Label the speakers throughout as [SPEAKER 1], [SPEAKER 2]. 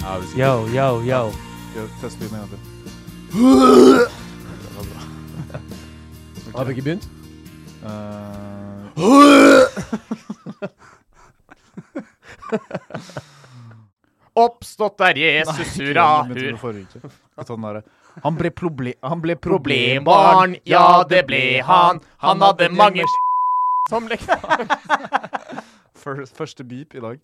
[SPEAKER 1] Ja, hvis ikke-
[SPEAKER 2] Yo, yo, yo.
[SPEAKER 1] Gjør- Test lyden en gang til. Det var bra.
[SPEAKER 3] Har vi ikke begynt?
[SPEAKER 1] Eh,
[SPEAKER 4] Oppstått er Jesus,
[SPEAKER 1] nei,
[SPEAKER 4] hurra,
[SPEAKER 1] den begynte med
[SPEAKER 4] hurra.
[SPEAKER 1] forrige uke. Jeg tar den derre. Han ble, proble han ble
[SPEAKER 4] Problembarn, ja det ble han. Han hadde mange som lekte.
[SPEAKER 1] Først- Første beep i dag.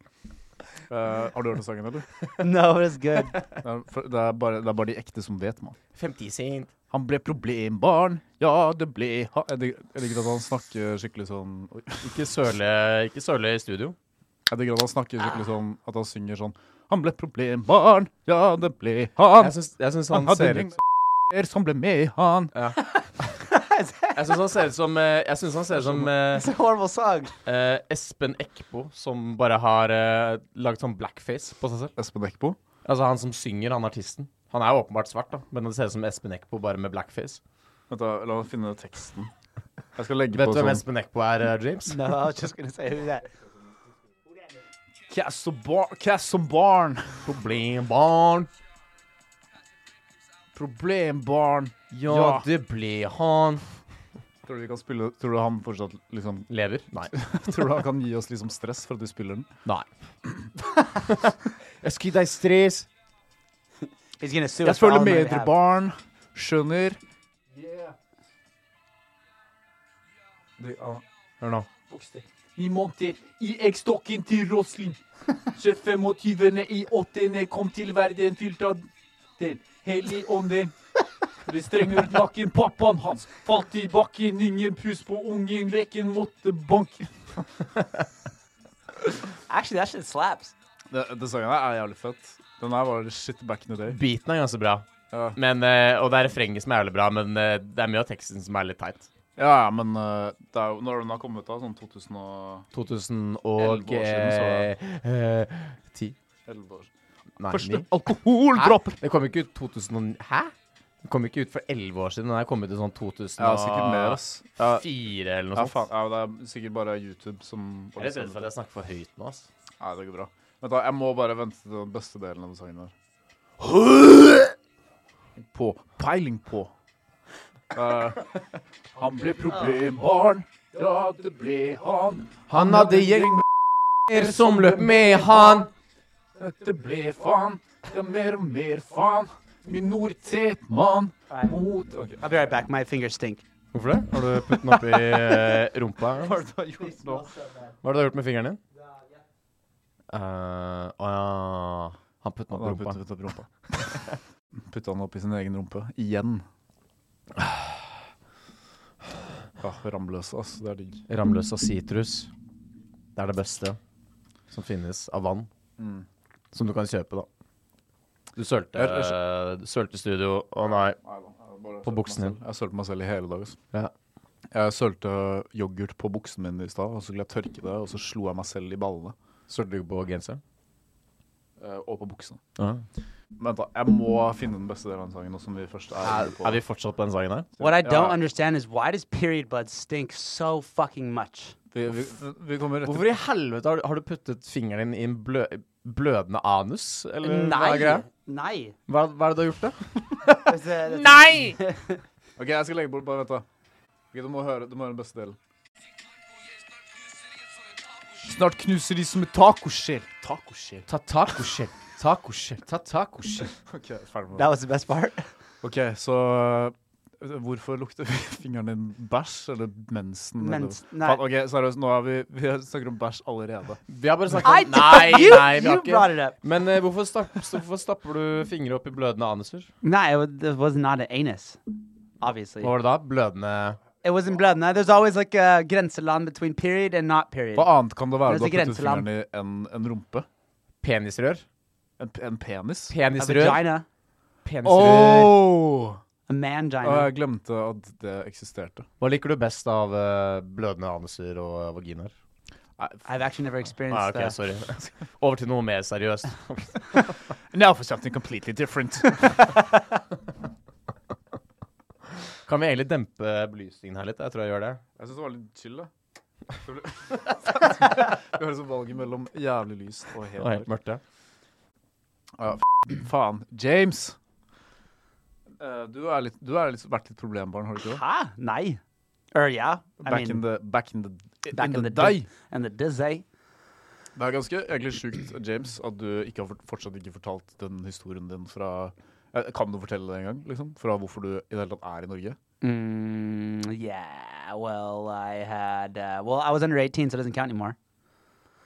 [SPEAKER 1] Eh, har du hørt den sangen, eller?
[SPEAKER 2] No, it's good.
[SPEAKER 1] Det er, for- det er, bare, det er bare de ekte som vet, mann.
[SPEAKER 4] 50 cent.
[SPEAKER 1] Han ble problembarn, ja det ble han Jeg digger jeg digger at han snakker skikkelig sånn Oi.
[SPEAKER 4] Ikke søle, ikke søle i studio.
[SPEAKER 1] Jeg digger at han snakker skikkelig sånn At han synger sånn Han ble problembarn, ja det ble han.
[SPEAKER 3] Jeg syns, jeg syns
[SPEAKER 1] Han
[SPEAKER 3] han,
[SPEAKER 1] hadde
[SPEAKER 3] ser
[SPEAKER 1] ingen
[SPEAKER 3] ut
[SPEAKER 1] som ble med han.
[SPEAKER 3] Jeg syns han ser ut som eh, Jeg syns han ser ut som eh,
[SPEAKER 2] It's a horrible song.
[SPEAKER 3] eh, Espen Eckbo, som bare har uh, lagd sånn blackface på seg selv.
[SPEAKER 1] Espen Eckbo.
[SPEAKER 3] Altså han som synger, han artisten. Han er jo åpenbart svart, da, men det ser ut som Espen Eckbo bare med blackface.
[SPEAKER 1] Vent da, La meg finne teksten. Jeg skal legge
[SPEAKER 3] Vet
[SPEAKER 1] på
[SPEAKER 3] du hvem
[SPEAKER 1] sånn
[SPEAKER 3] Espen Eckbo er, eh, James?
[SPEAKER 2] No, I was just gonna say who that.
[SPEAKER 1] Cast som barn, cast som barn.
[SPEAKER 3] Problembarn.
[SPEAKER 1] Problembarn.
[SPEAKER 3] Ja,
[SPEAKER 1] Ja.
[SPEAKER 3] det ble han.
[SPEAKER 1] Tror du vi kan spille Tror du han fortsatt liksom
[SPEAKER 3] Lever? Nei.
[SPEAKER 1] Tror du han kan gi oss liksom stress for at vi spiller den?
[SPEAKER 3] Nei. jeg skal gi deg stress.
[SPEAKER 2] He's gonna sue
[SPEAKER 1] Jeg
[SPEAKER 2] us for all
[SPEAKER 1] føler
[SPEAKER 2] the money
[SPEAKER 1] med
[SPEAKER 2] we have.
[SPEAKER 1] barn. Skjønner. Det, ja.
[SPEAKER 3] Hør nå.
[SPEAKER 5] I måneder i eggstokken til Roslin. 25. i åttende kom til verden fylt av den hellige ånden. Det strenger ut nakken, pappaen hans falt i bakken. Ingen pust på ungen, leken måtte banke.
[SPEAKER 2] Actually, that shit slaps.
[SPEAKER 1] det, det sangen her er jævlig fett. Den her var shit back in the day.
[SPEAKER 3] Beaten er ganske bra.
[SPEAKER 1] Ja.
[SPEAKER 3] Men, eh, og det er refrenget som er jævlig bra, men eh, det er mye av teksten som er litt teit.
[SPEAKER 1] Ja, ja, men eh, det er jo når den har kommet ut, da. Sånn 2011
[SPEAKER 3] 2000
[SPEAKER 1] år
[SPEAKER 3] og
[SPEAKER 1] siden,
[SPEAKER 3] eh, Ti?
[SPEAKER 1] år.
[SPEAKER 3] Nei,
[SPEAKER 1] Første
[SPEAKER 3] ni?
[SPEAKER 1] alkoholdropp!
[SPEAKER 3] Det kom ikke ut 2000 og, Hæ? Det kom ikke ut for 11 år siden. Den her kom ut i sånn 2004
[SPEAKER 1] Ja, sikkert mer, ass. Ja,
[SPEAKER 3] eller noe
[SPEAKER 1] ja,
[SPEAKER 3] sånt.
[SPEAKER 1] faen. Ja, det er sikkert bare YouTube som
[SPEAKER 3] Jeg er litt redd for at jeg snakker for høyt nå, ass.
[SPEAKER 1] Nei, det går bra. Vent da, jeg må bare vente til den beste delen av den sangen her. På. Peiling på. Eh,
[SPEAKER 5] Han ble problembarn, ja, det ble han.
[SPEAKER 3] Han hadde gjeng med som løp med han.
[SPEAKER 5] Dette ble faen. Det er mer og mer faen. Minoritet, mann. Mot
[SPEAKER 2] I'll be right back. My fingers stink.
[SPEAKER 3] Hvorfor det? Har du putt den oppi eh, rumpa? Hva er det du har gjort med fingeren din? Eh, Å ja. Han putt den
[SPEAKER 1] da
[SPEAKER 3] oppi
[SPEAKER 1] putter
[SPEAKER 3] rumpa.
[SPEAKER 1] vi det opp i rumpa. Putta den opp i sin egen rumpe. Igjen. Ja, Ramløs, ass. Det er digg.
[SPEAKER 3] Ramløs av sitrus. Det er det beste som finnes av vann.
[SPEAKER 1] Mm.
[SPEAKER 3] Som du kan kjøpe, da. Du sølte,
[SPEAKER 1] Jeg-
[SPEAKER 3] eh, sølte studio. Å nei. På buksen din.
[SPEAKER 1] Jeg sølte meg selv i hele dag. ass.
[SPEAKER 3] Ja.
[SPEAKER 1] Jeg sølte yoghurt på buksen min i stad, og så skulle jeg tørke det, og så slo jeg meg selv i ballene.
[SPEAKER 3] Sølte du på genseren?
[SPEAKER 1] eh, Og på buksene.
[SPEAKER 3] Ja.
[SPEAKER 1] Vent, da. Jeg må finne den beste delen av den sangen. Nå som vi først er
[SPEAKER 3] Er,
[SPEAKER 1] inne på
[SPEAKER 3] er vi fortsatt på den sangen her?
[SPEAKER 2] What I don't
[SPEAKER 1] Yeah.
[SPEAKER 2] understand is why does period blood stink so fucking much?
[SPEAKER 1] vi, vi, vi kommer rett
[SPEAKER 3] Hvorfor i helvete har, du- har du puttet fingeren din i en blø, blødende anus? Eller hva er
[SPEAKER 2] Nei,
[SPEAKER 3] greia?
[SPEAKER 2] nei.
[SPEAKER 3] Hva, hva er det du har gjort, da?
[SPEAKER 2] That's a- that's a-
[SPEAKER 1] OK, jeg skal legge bort. Bare vent, da. Ok, du, må høre, du må høre den beste delen. Snart knuser de som et tacoskjell. Tacoskjell.
[SPEAKER 3] Ta tacoskjell. Tacoskjell. Ta tacoskjell.
[SPEAKER 1] OK, ferdig med
[SPEAKER 2] That
[SPEAKER 1] det.
[SPEAKER 2] was the best part.
[SPEAKER 1] OK, så øh, Hvorfor lukter fingeren din bæsj? Eller mensen? eller-
[SPEAKER 2] Mens, nei.
[SPEAKER 1] Faen, OK, seriøst, nå er vi Vi snakker om bæsj allerede.
[SPEAKER 3] Vi har bare
[SPEAKER 2] I
[SPEAKER 3] snakket om
[SPEAKER 2] don't-
[SPEAKER 3] Nei,
[SPEAKER 2] you,
[SPEAKER 3] nei, vi
[SPEAKER 2] you
[SPEAKER 3] har
[SPEAKER 2] brought
[SPEAKER 3] ikke
[SPEAKER 2] it up.
[SPEAKER 3] Men eh, hvorfor, stapp, så hvorfor stapper du fingre opp i blødende anuser?
[SPEAKER 2] Nah, it was, it was not an anus, obviously.
[SPEAKER 3] Hva var det da? Blødende
[SPEAKER 2] It wasn't blood. Now there's always like a grenseland between period and not period.
[SPEAKER 1] Hva annet kan det
[SPEAKER 2] Men
[SPEAKER 1] være du har
[SPEAKER 2] det er
[SPEAKER 1] puttet
[SPEAKER 2] grenseland.
[SPEAKER 1] fingeren i en, en rumpe?
[SPEAKER 3] penisrør?
[SPEAKER 1] En, p- en penis?
[SPEAKER 2] a
[SPEAKER 3] Penisrør?
[SPEAKER 2] vagina,
[SPEAKER 1] Oh.
[SPEAKER 3] Penisrør.
[SPEAKER 2] a mangina.
[SPEAKER 1] Å, jeg glemte at det eksisterte.
[SPEAKER 3] Hva liker du best av eh, blødende anuser og vaginaer?
[SPEAKER 2] I've actually never experienced
[SPEAKER 3] Ah, ok,
[SPEAKER 2] that.
[SPEAKER 3] sorry. Over til noe mer seriøst.
[SPEAKER 1] Now for something completely different.
[SPEAKER 3] Kan vi egentlig dempe belysningen her litt? Jeg tror jeg gjør det.
[SPEAKER 1] Jeg syns det var litt chill, da. Det ble- Det høres ut som valget mellom jævlig lyst og helt
[SPEAKER 3] Det var helt
[SPEAKER 1] mørkt.
[SPEAKER 3] mørkt, ja.
[SPEAKER 1] Ja, f faen. James! Eh, du har litt, du er litt, vært litt problembarn, har du ikke det?
[SPEAKER 2] Hæ? Nei. Or yeah. I
[SPEAKER 1] Back,
[SPEAKER 2] mean,
[SPEAKER 1] in the, back in the, in
[SPEAKER 2] back
[SPEAKER 1] the,
[SPEAKER 2] in the
[SPEAKER 1] day.
[SPEAKER 2] day. And the dizzy.
[SPEAKER 1] Det er ganske egentlig sjukt, James, at du ikke har fort- fortsatt ikke fortalt den historien din fra Eh, Kan du fortelle det en gang? liksom? Fra hvorfor du i det hele tatt er i Norge?
[SPEAKER 2] Mm, yeah. Well, I had. Uh, well, I was under 18, so it doesn't count anymore.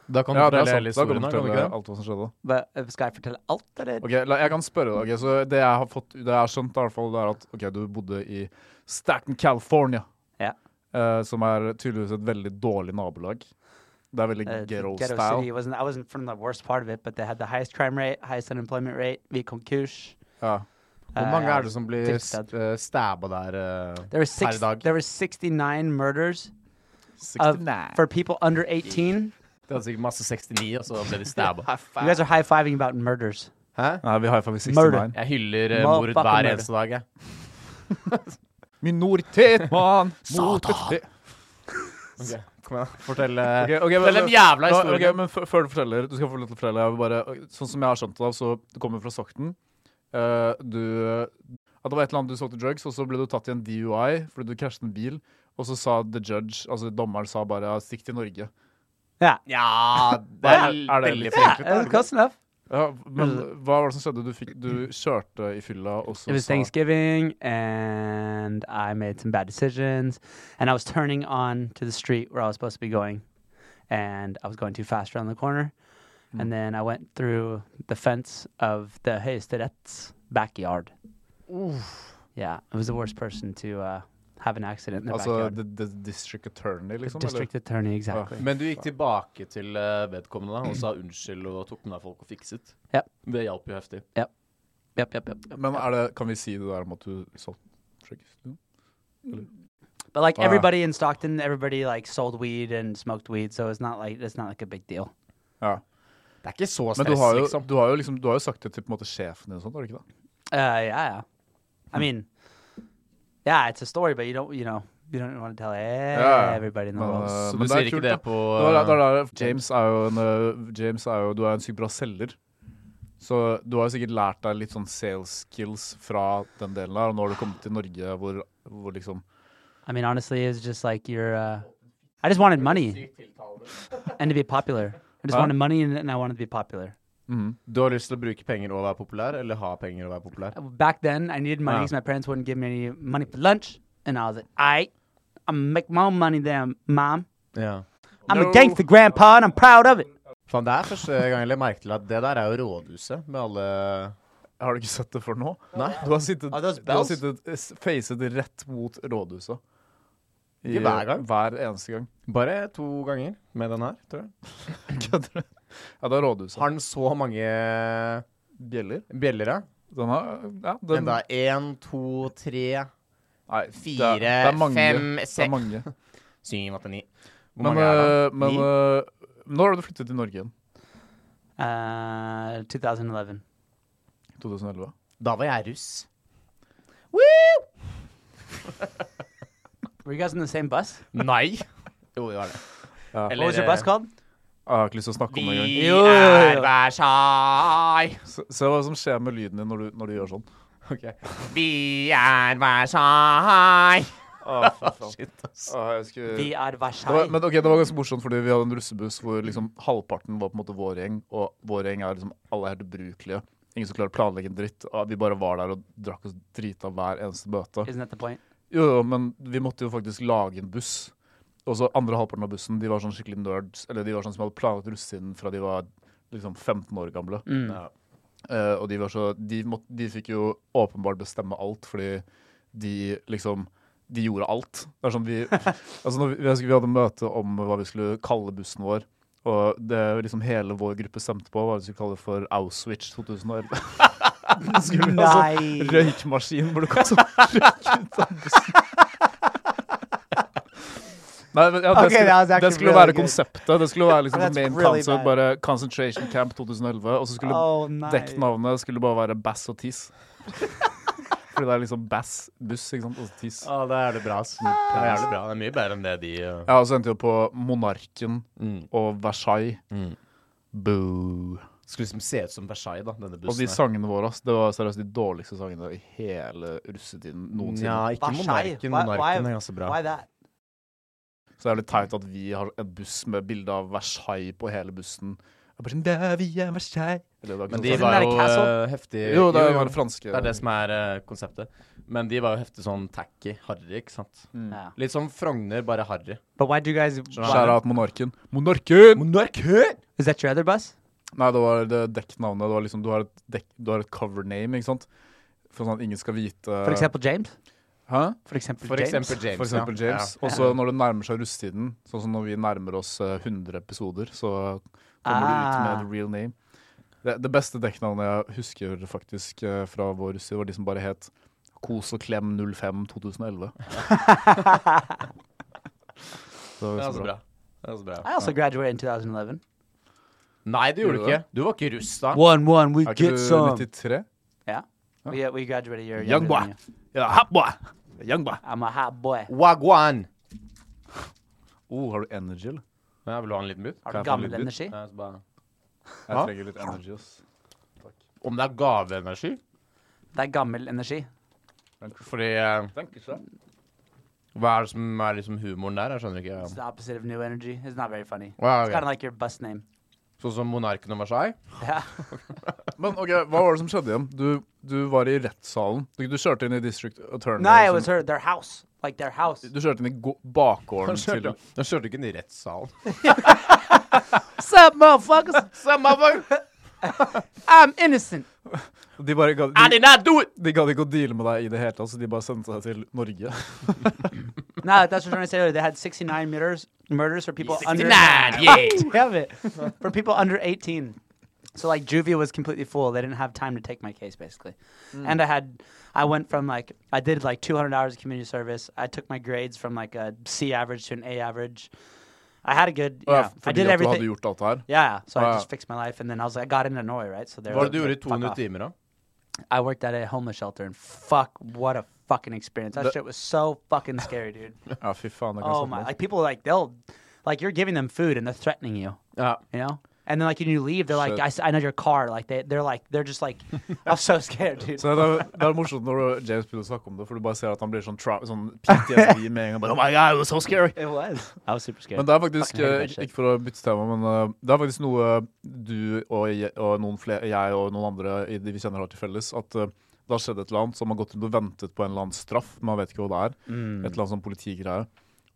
[SPEAKER 3] Da kan du
[SPEAKER 1] Ja, det er
[SPEAKER 3] fortelle
[SPEAKER 1] sant.
[SPEAKER 3] hele historien
[SPEAKER 1] Da kan du
[SPEAKER 3] her, kan du ikke
[SPEAKER 1] fortelle
[SPEAKER 3] det?
[SPEAKER 1] alt hva som skjedde.
[SPEAKER 2] But uh, skal jeg fortelle alt, eller?
[SPEAKER 1] Ok, la, Jeg kan spørre deg. ok, så Det jeg har fått, det jeg har skjønt, i hvert fall, det er at ok, du bodde i Staten, California.
[SPEAKER 2] Ja.
[SPEAKER 1] Eh, som er tydeligvis et veldig dårlig nabolag. Det er veldig
[SPEAKER 2] Uh,
[SPEAKER 1] ghetto,
[SPEAKER 2] ghetto
[SPEAKER 1] style.
[SPEAKER 2] City wasn't. I wasn't from the worst part of it, but they had the highest crime rate, highest unemployment rate, weak konkurs.
[SPEAKER 1] Ja.
[SPEAKER 3] Hvor mange er det som blir
[SPEAKER 2] Tipstad.
[SPEAKER 3] st- eh, stabba der eh,
[SPEAKER 2] There were
[SPEAKER 3] per
[SPEAKER 2] six.
[SPEAKER 3] dag?
[SPEAKER 2] There were 69 murders of, for people under 18.
[SPEAKER 3] Det hadde sikkert masse 69, og så ble de stabba.
[SPEAKER 2] You guys are high fiving about murders.
[SPEAKER 3] Hæ?
[SPEAKER 1] Nei, vi har faktisk
[SPEAKER 2] Murder.
[SPEAKER 1] 69.
[SPEAKER 3] Jeg hyller eh, mord
[SPEAKER 2] Motherfucking
[SPEAKER 3] hver
[SPEAKER 2] murder.
[SPEAKER 3] eneste dag, jeg.
[SPEAKER 1] Minoritet, mann! Satan!
[SPEAKER 3] Ok, Kom igjen, da. Fortell eh,
[SPEAKER 1] Ok, ok,
[SPEAKER 3] Fortell
[SPEAKER 1] men-
[SPEAKER 3] den jævla
[SPEAKER 1] Nå,
[SPEAKER 3] historien.
[SPEAKER 1] ok, men f- før du forteller, du skal få lov til å fortelle. Jeg vil bare, sånn som jeg har skjønt det, av, så du kommer fra Sokten. Eh, du At det var et eller annet du solgte drugs, og så ble du tatt i en DUI fordi du krasjet en bil. Og så sa the judge, altså dommeren, sa bare "Ja, 'stikk til Norge'.
[SPEAKER 3] Ja, det
[SPEAKER 1] Er,
[SPEAKER 3] er,
[SPEAKER 1] er det
[SPEAKER 3] veldig
[SPEAKER 1] litt
[SPEAKER 3] fint.
[SPEAKER 1] forenklet?
[SPEAKER 2] Uh, close enough.
[SPEAKER 1] Ja, men
[SPEAKER 3] Mm.
[SPEAKER 1] hva var det som skjedde? Du, fikk, du kjørte i fylla, og så
[SPEAKER 2] It was
[SPEAKER 1] sa
[SPEAKER 2] Thanksgiving, and I made some bad decisions, and I was turning on to the street where I was supposed to be going, and I was going too fast around the corner, and then I went through the fence of the Høyesterett's backyard. Yeah, I was the worst person to uh, have an accident in their
[SPEAKER 1] Altså
[SPEAKER 2] backyard.
[SPEAKER 1] the, the district attorney,
[SPEAKER 2] The
[SPEAKER 1] liksom?
[SPEAKER 2] district attorney, exactly.
[SPEAKER 3] Men du gikk tilbake til eh, vedkommende da, og sa unnskyld og tok med deg folk og fikset.
[SPEAKER 2] Ja.
[SPEAKER 3] Det hjalp jo heftig.
[SPEAKER 2] Yep, yep, yep. yep.
[SPEAKER 1] eller? Men er det, kan vi si det der om at du solgte drugs?
[SPEAKER 2] But like
[SPEAKER 1] Ah.
[SPEAKER 2] everybody in Stockton, everybody like sold weed and smoked weed, so it's not like it's not like a big deal.
[SPEAKER 1] Ja.
[SPEAKER 3] Det er ikke så
[SPEAKER 1] Men
[SPEAKER 3] stress,
[SPEAKER 1] du har, jo,
[SPEAKER 3] liksom.
[SPEAKER 1] du, har jo liksom, du har jo sagt det til på en måte sjefen din og sånt, har du ikke det?
[SPEAKER 2] Uh, yeah, yeah.
[SPEAKER 1] Hmm.
[SPEAKER 2] I mean, yeah, it's a story, but you don't, you know, you don't want to tell
[SPEAKER 1] yeah.
[SPEAKER 2] everybody in the
[SPEAKER 1] No,
[SPEAKER 2] world.
[SPEAKER 1] no, no.
[SPEAKER 3] Så
[SPEAKER 1] men
[SPEAKER 3] du
[SPEAKER 1] det er
[SPEAKER 3] sier
[SPEAKER 1] kult,
[SPEAKER 3] ikke det på
[SPEAKER 1] Det var, der- det
[SPEAKER 3] eh,
[SPEAKER 1] var der, James er jo en øh, James er jo, Du er en sykt bra selger. Så du har jo sikkert lært deg litt sånn sales skills fra den delen der. Og nå har du kommet til Norge hvor, hvor liksom
[SPEAKER 2] I mean, honestly, it's just like you're. Uh, I just wanted money and to be popular. I just
[SPEAKER 1] Huh?
[SPEAKER 2] wanted money and, and I wanted to be popular.
[SPEAKER 1] mhm.
[SPEAKER 3] Du har lyst til å bruke penger og være populær, eller ha penger og være populær?
[SPEAKER 2] Back then, I needed money
[SPEAKER 3] Wow.
[SPEAKER 2] because my parents wouldn't give me any money for lunch, and I was like, "I, I'm gonna make my own money, then, mom.
[SPEAKER 3] Ja.
[SPEAKER 2] I'm
[SPEAKER 1] No.
[SPEAKER 2] a gangster grandpa, and I'm proud of it."
[SPEAKER 3] Faen, det er første gang jeg legger merke til at det der er jo rådhuset med alle
[SPEAKER 1] Har du ikke sett det før nå?
[SPEAKER 3] Nei.
[SPEAKER 1] Du har sittet,
[SPEAKER 3] Are those
[SPEAKER 1] du har
[SPEAKER 3] bells?
[SPEAKER 1] sittet eh, s- facet rett mot rådhuset. I-
[SPEAKER 3] Ikke hver gang.
[SPEAKER 1] Hver eneste gang.
[SPEAKER 3] Bare to ganger med den her, tror jeg.
[SPEAKER 1] Kødder du? Ja, det er rådhuset.
[SPEAKER 3] Har den så mange
[SPEAKER 1] Bjeller.
[SPEAKER 3] bjeller, ja?
[SPEAKER 1] Den har Ja, den
[SPEAKER 3] Enda én, to, tre,
[SPEAKER 1] Nei, det er-
[SPEAKER 3] fire,
[SPEAKER 1] det er mange.
[SPEAKER 3] fem,
[SPEAKER 1] Det er
[SPEAKER 3] seks
[SPEAKER 1] mange.
[SPEAKER 3] Syv, åtte, ni. Hvor
[SPEAKER 1] Men,
[SPEAKER 3] mange er det?
[SPEAKER 1] øh, men
[SPEAKER 3] Ni?
[SPEAKER 1] øh, når har du flyttet til Norge igjen?
[SPEAKER 2] Uh, 2011.
[SPEAKER 1] 2011?
[SPEAKER 3] Da var jeg russ.
[SPEAKER 2] Were you guys in the same bus?
[SPEAKER 3] Nei. Jo, det eh, var det.
[SPEAKER 1] Ja.
[SPEAKER 2] What was your bus called?
[SPEAKER 1] Jeg har ikke lyst til å snakke om det engang.
[SPEAKER 3] Vi
[SPEAKER 2] Jo, jo, jo.
[SPEAKER 3] er hver seg.
[SPEAKER 1] Se, se hva som skjer med lyden din når du, når du gjør sånn.
[SPEAKER 3] Vi er hver seg. Shit, ass.
[SPEAKER 1] jeg skulle...
[SPEAKER 2] Vi er
[SPEAKER 1] det var,
[SPEAKER 2] Versailles.
[SPEAKER 1] men ok, det var ganske morsomt, fordi vi hadde en russebuss hvor liksom halvparten var på en måte vår gjeng, og vår gjeng er liksom alle helt ubrukelige. Ingen som klarer å planlegge en dritt. og Vi bare var der og drakk oss drita hver eneste bøte.
[SPEAKER 2] Isn't that the point?
[SPEAKER 1] Jo, jo, men vi måtte jo faktisk lage en buss. Og så andre halvparten av bussen, de var sånn skikkelig nerds, eller de var sånn som hadde planlagt russesiden fra de var liksom 15 år gamle.
[SPEAKER 3] Ja.
[SPEAKER 1] Eh, og de var så de, måtte, de fikk jo åpenbart bestemme alt, fordi de liksom De gjorde alt. Det er sånn vi Altså, når vi, vi husker vi hadde møte om hva vi skulle kalle bussen vår. Og det liksom hele vår gruppe stemte på, var at vi skulle kalle det for Auschwitz 2011. Det skulle vi ha sånn
[SPEAKER 2] Nei.
[SPEAKER 1] Røykmaskin hvor du kan sånn røyk ut av bussen. Nei, men ja, det,
[SPEAKER 2] Okay, that was
[SPEAKER 1] skulle, det
[SPEAKER 2] actually
[SPEAKER 1] skulle
[SPEAKER 2] really
[SPEAKER 1] være
[SPEAKER 2] good.
[SPEAKER 1] konseptet. Det skulle være liksom
[SPEAKER 2] That's
[SPEAKER 1] main
[SPEAKER 2] really bad.
[SPEAKER 1] concept, bare Concentration Camp 2011. Og så skulle
[SPEAKER 2] Oh, nei.
[SPEAKER 1] dekknavnet skulle bare være Bass og Tiss. Fordi det er liksom Bass, buss, ikke sant, og så Tiss.
[SPEAKER 3] Ja, det er det bra. ass. Det er jævlig bra. Det er mye bedre enn det de uh,
[SPEAKER 1] Ja, og så endte vi opp på Monarken
[SPEAKER 3] mm.
[SPEAKER 1] og Versailles.
[SPEAKER 3] Mm.
[SPEAKER 1] Boo.
[SPEAKER 3] Skulle liksom se ut som Versailles, da, denne
[SPEAKER 1] Og
[SPEAKER 3] bussen.
[SPEAKER 1] de sangene våre, ass. Det var seriøst de dårligste sangene i hele russetiden noensinne.
[SPEAKER 3] Ja, ikke
[SPEAKER 2] Versailles?
[SPEAKER 3] monarken.
[SPEAKER 2] Why-
[SPEAKER 3] Monarken
[SPEAKER 2] why-
[SPEAKER 3] er ganske bra.
[SPEAKER 2] Why that?
[SPEAKER 1] Så det er litt teit at vi har en buss med bilde av Versailles på hele bussen. Det er bare sånn, der vi er Versailles. Eller, det er ikke
[SPEAKER 3] Men
[SPEAKER 1] noe
[SPEAKER 3] de
[SPEAKER 1] sånn.
[SPEAKER 2] var
[SPEAKER 3] var
[SPEAKER 2] jo,
[SPEAKER 3] jo
[SPEAKER 2] Castle?
[SPEAKER 3] heftige
[SPEAKER 1] Jo, det var det franske.
[SPEAKER 3] Det er det som er eh, konseptet. Men de var jo heftig sånn tacky, harry, ikke sant.
[SPEAKER 1] Mm.
[SPEAKER 2] Yeah.
[SPEAKER 3] Litt sånn Frogner, bare harry.
[SPEAKER 2] But why do you guys?
[SPEAKER 1] Skjæra av monarken. Monarken!
[SPEAKER 3] Monarker!
[SPEAKER 2] Is that your other bus?
[SPEAKER 1] Nei, det var det dekknavnet. Det var liksom, du har et, dekk, du har et cover name, ikke sant? For sånn at ingen skal vite
[SPEAKER 2] For example, James.
[SPEAKER 1] Hæ?
[SPEAKER 2] For example,
[SPEAKER 3] For
[SPEAKER 2] James.
[SPEAKER 3] eksempel James.
[SPEAKER 1] Uh, For eksempel
[SPEAKER 3] ja.
[SPEAKER 1] James. Og så når det nærmer seg russetiden, sånn som når vi nærmer oss eh, 100 episoder, så kommer du ut
[SPEAKER 2] Ah.
[SPEAKER 1] med the real name. Det, det beste dekknavnet jeg husker faktisk eh, fra vår russetid, var de som bare het Kos og klem 05 2011. Det
[SPEAKER 3] Ja.
[SPEAKER 1] var
[SPEAKER 3] Det er
[SPEAKER 1] ganske
[SPEAKER 3] altså
[SPEAKER 1] bra.
[SPEAKER 3] bra. Det er altså bra.
[SPEAKER 2] I also graduated in 2011.
[SPEAKER 3] Nei, det gjorde du
[SPEAKER 1] Gjorde
[SPEAKER 3] ikke. Du var ikke russ da.
[SPEAKER 2] One one, we
[SPEAKER 1] Er ikke
[SPEAKER 2] get some.
[SPEAKER 1] du 93?
[SPEAKER 2] Yeah. We, we graduated a year.
[SPEAKER 1] Young
[SPEAKER 2] younger
[SPEAKER 1] boy.
[SPEAKER 2] than you.
[SPEAKER 1] Ja, hot boy! Young boy!
[SPEAKER 2] I'm a hot boy.
[SPEAKER 3] Wagwan.
[SPEAKER 1] Oh, har du energy, eller?
[SPEAKER 3] Ja, vil du ha en liten bit?
[SPEAKER 2] Har
[SPEAKER 3] Kan jeg få
[SPEAKER 2] du
[SPEAKER 3] en
[SPEAKER 2] gammel
[SPEAKER 3] liten bit?
[SPEAKER 2] energi?
[SPEAKER 3] Ja, så bare-
[SPEAKER 1] Jeg
[SPEAKER 3] Hva?
[SPEAKER 1] trenger litt energy, ass.
[SPEAKER 3] Om det er gaveenergi?
[SPEAKER 2] Det er gammel energi.
[SPEAKER 3] Fordi eh, Hva er det som er liksom humoren der? Jeg skjønner ikke.
[SPEAKER 2] It's the opposite of new energy. It's not very funny.
[SPEAKER 3] Wow,
[SPEAKER 2] It's kind of like your bus name.
[SPEAKER 3] Sånn som monarken og Versailles?
[SPEAKER 2] Yeah.
[SPEAKER 1] Men ok, hva var det som skjedde igjen? Du, du var i rettssalen. Du, du kjørte inn i District Attorney. sånn.
[SPEAKER 2] no, it
[SPEAKER 1] som-
[SPEAKER 2] was her. Their house. Like their house.
[SPEAKER 1] Du kjørte inn i gå- bakgården
[SPEAKER 3] Han kjørte,
[SPEAKER 1] til
[SPEAKER 3] han kjørte ikke inn i rettssalen.
[SPEAKER 2] What's up, motherfuckers?
[SPEAKER 3] Samme hva-
[SPEAKER 2] I'm innocent.
[SPEAKER 1] De bare gadd
[SPEAKER 3] I
[SPEAKER 1] de,
[SPEAKER 3] did not do it!
[SPEAKER 1] de gadd ikke å deale med deg i det hele tatt, så de bare sendte deg til Norge.
[SPEAKER 2] No, that's what I'm trying to say. earlier. They had 69 murders, murders for people under.
[SPEAKER 3] 69, yeah.
[SPEAKER 2] Damn it. For people under 18. So like juvie was completely full. They didn't have time to take my case basically. And I had I went from like I did like 200 hours of community service. I took my grades from like a C average to an A average. I had a good
[SPEAKER 1] Oh,
[SPEAKER 2] you know, I
[SPEAKER 1] fordi
[SPEAKER 2] did
[SPEAKER 1] at du
[SPEAKER 2] everything.
[SPEAKER 1] hadde gjort alt det her.
[SPEAKER 2] yeah, so I
[SPEAKER 1] Wow.
[SPEAKER 2] just fixed my life and then I was like I got into Norway, right? So there
[SPEAKER 3] Hva var det du gjorde i
[SPEAKER 2] fuck
[SPEAKER 3] 200
[SPEAKER 2] off.
[SPEAKER 3] timer, da?
[SPEAKER 2] I worked at a homeless shelter and fuck what a fucking experience. That
[SPEAKER 1] The-
[SPEAKER 2] shit was so fucking scary, dude.
[SPEAKER 1] Ja, fy faen. Det kan
[SPEAKER 2] oh
[SPEAKER 1] jeg
[SPEAKER 2] my
[SPEAKER 1] snakke om.
[SPEAKER 2] like people like they'll like you're giving them food and they're threatening you.
[SPEAKER 3] Ja.
[SPEAKER 2] you know. And then like when you leave, they're like,
[SPEAKER 1] Shit.
[SPEAKER 2] I, s- I know your car. Like they, they're like, they're just like, I'm so scared, dude.
[SPEAKER 1] Så det, er, det er morsomt når du- James begynner å snakke om det, for du bare ser at han blir sånn, tra sånn PTSD med en gang. Bare, oh my god, it was so scary.
[SPEAKER 2] it was. I was super scared.
[SPEAKER 1] Men det er faktisk,
[SPEAKER 2] Fucking hate
[SPEAKER 1] eh,
[SPEAKER 2] that
[SPEAKER 1] ikke,
[SPEAKER 2] shit.
[SPEAKER 1] ikke for å bytte tema, men eh, det er faktisk noe du og jeg og noen, flere, jeg og noen andre i de vi kjenner har til felles, at eh, det har skjedd et eller annet, så har man gått rundt og ventet på en eller annen straff, men man vet ikke hva det er.
[SPEAKER 2] Mm.
[SPEAKER 1] et eller annet sånn politigreie.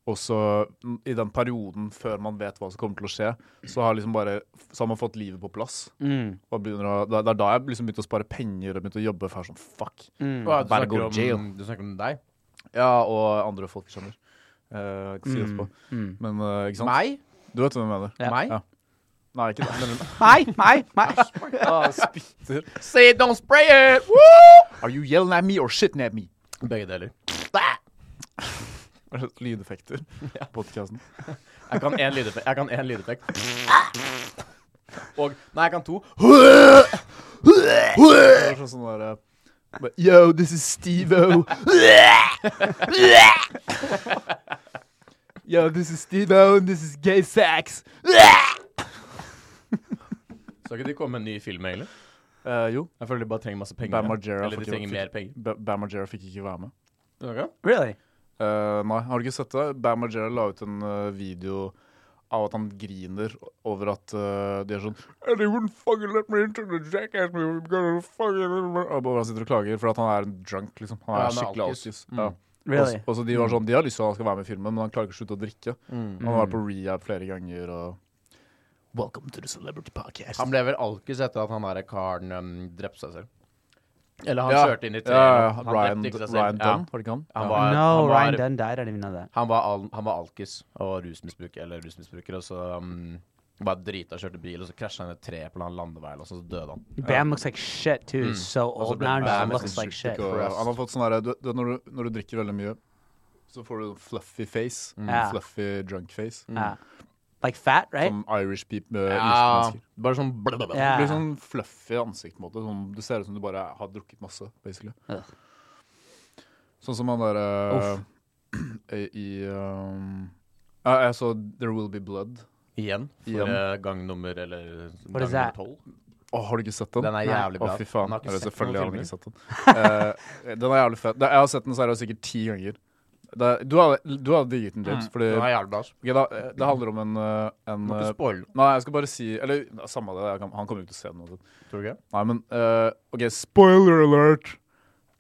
[SPEAKER 1] Og så mm, i den perioden før man vet hva som kommer til å skje, så har, liksom bare, så har man fått livet på plass.
[SPEAKER 2] Mm.
[SPEAKER 1] Og begynner å, det er- det er da jeg liksom begynte å spare penger og begynte å jobbe. For jeg er sånn, fuck.
[SPEAKER 2] Mm.
[SPEAKER 3] Hva, du,
[SPEAKER 1] Bare go
[SPEAKER 3] snakker
[SPEAKER 1] jail.
[SPEAKER 3] om, du snakker om deg?
[SPEAKER 1] Ja, og andre folk skjønner. Eh, jeg kan si det etterpå.
[SPEAKER 2] Mm.
[SPEAKER 1] Men eh, ikke sant?
[SPEAKER 3] Meg?
[SPEAKER 1] Du vet hvem jeg mener.
[SPEAKER 2] Ja.
[SPEAKER 3] Meg?
[SPEAKER 1] Ja. Nei, ikke det. Men,
[SPEAKER 2] My, my, my.
[SPEAKER 1] ah, spytter.
[SPEAKER 3] Say it, don't spray it!
[SPEAKER 1] Are you yelling at me or shitting at me?
[SPEAKER 3] Begge deler.
[SPEAKER 1] sånn Lydeffekter på podcasten.
[SPEAKER 3] Jeg kan én lydeffekt. Jeg kan én lydeffekt. Og Nei, jeg kan to.
[SPEAKER 1] Det var sånn sånn der, eh, bare, Yo, this is Steve-O. Yo, this is Steve-O, and this is gay sex.
[SPEAKER 3] Skal ikke de komme med en ny film, egentlig?
[SPEAKER 1] Eh, jo,
[SPEAKER 3] Jeg føler de bare trenger masse penger.
[SPEAKER 1] Bam Margera
[SPEAKER 3] Eller
[SPEAKER 1] får
[SPEAKER 3] de
[SPEAKER 1] ikke-
[SPEAKER 3] trenger
[SPEAKER 1] fikk-
[SPEAKER 3] mer penger.
[SPEAKER 1] Ba- Bam Margera fikk ikke være med.
[SPEAKER 3] Okay.
[SPEAKER 2] Really?
[SPEAKER 1] Eh, nei, har du ikke sett det? Bam Margera la ut en eh, video av at han griner over at eh, de er sånn And they wouldn't fucking let me into the jackass we were gonna fucking Og bare han sitter og klager, for at han er en drunk, liksom. Han er
[SPEAKER 3] Ja, han er
[SPEAKER 1] skikkelig
[SPEAKER 3] alkis. Mm.
[SPEAKER 1] alkis. Ja.
[SPEAKER 2] Really?
[SPEAKER 1] Og, og så de var sånn, de har lyst til at han skal være med i filmen, men han klarer ikke å slutte å drikke.
[SPEAKER 3] Mm.
[SPEAKER 1] Han har vært på rehab flere ganger og Welcome to the celebrity podcast.
[SPEAKER 3] Han ble vel alkis etter at han derre karen um, drepte seg selv. Eller han
[SPEAKER 1] Ja.
[SPEAKER 3] kjørte inn i treet.
[SPEAKER 1] ja, ja,
[SPEAKER 3] Han
[SPEAKER 1] ja.
[SPEAKER 3] drepte
[SPEAKER 1] Ryan,
[SPEAKER 3] ikke seg selv.
[SPEAKER 1] Ryan
[SPEAKER 3] Ja.
[SPEAKER 1] Dunn, var det ikke han?
[SPEAKER 3] Han
[SPEAKER 1] Ja.
[SPEAKER 3] var,
[SPEAKER 2] No,
[SPEAKER 3] han var,
[SPEAKER 2] Ryan Dunn died. I didn't even know that.
[SPEAKER 3] Han var, al han var alkis og rusmisbruker, eller rusmisbruker, og så um, bare drita og kjørte bil, og så krasja han i et tre på en landeveien, og så døde han.
[SPEAKER 2] Bam looks like shit too. He's so old
[SPEAKER 3] been
[SPEAKER 2] now. and
[SPEAKER 3] Bam
[SPEAKER 2] Just
[SPEAKER 3] is
[SPEAKER 2] looks like
[SPEAKER 1] Sjukt
[SPEAKER 2] shit.
[SPEAKER 1] ikke å- Han har fått sånn derre du, du, når, du- når du drikker veldig mye, så får du fluffy face.
[SPEAKER 2] Mm.
[SPEAKER 1] Sånn
[SPEAKER 2] Ja. Mm.
[SPEAKER 1] Fluffy drunk face.
[SPEAKER 2] Yeah. Like fat, right?
[SPEAKER 1] Som Irish people med
[SPEAKER 3] Ja,
[SPEAKER 1] irske mennesker.
[SPEAKER 3] bare sånn blablabla.
[SPEAKER 2] Ja.
[SPEAKER 1] Du blir sånn fluffy i ansiktet. på en måte. Sånn, du ser ut som du bare har drukket masse, basically.
[SPEAKER 2] Ugh.
[SPEAKER 1] Sånn som han derre i um, ja, Jeg så There Will Be Blood.
[SPEAKER 3] Igjen, for
[SPEAKER 1] Igjen.
[SPEAKER 3] eh, gang nummer eller gang
[SPEAKER 2] is
[SPEAKER 3] nummer
[SPEAKER 2] that?
[SPEAKER 3] tolv.
[SPEAKER 1] Å, Å, har du ikke sett den?
[SPEAKER 3] Den er
[SPEAKER 2] Nei.
[SPEAKER 3] jævlig bra.
[SPEAKER 1] Å, fy faen.
[SPEAKER 3] Han har ikke
[SPEAKER 1] Eller,
[SPEAKER 3] sett
[SPEAKER 1] selvfølgelig har
[SPEAKER 3] noen
[SPEAKER 1] han ikke
[SPEAKER 3] filmer.
[SPEAKER 1] sett den. Eh, den er jævlig fett. Det- Jeg har sett den så er det sikkert ti ganger. Det er, du hadde du hadde digget den, James. Fordi,
[SPEAKER 3] Den er jævlig bra. altså. ass.
[SPEAKER 1] Ok, da, eh, det handler om en, eh, en
[SPEAKER 3] Du må
[SPEAKER 1] eh,
[SPEAKER 3] ikke spoile den,
[SPEAKER 1] Nei, jeg skal bare si Eller ja, samme det, jeg kan, han kommer jo ikke til å se den uansett.
[SPEAKER 3] tror du ikke?
[SPEAKER 1] Nei, men eh, OK, spoiler alert!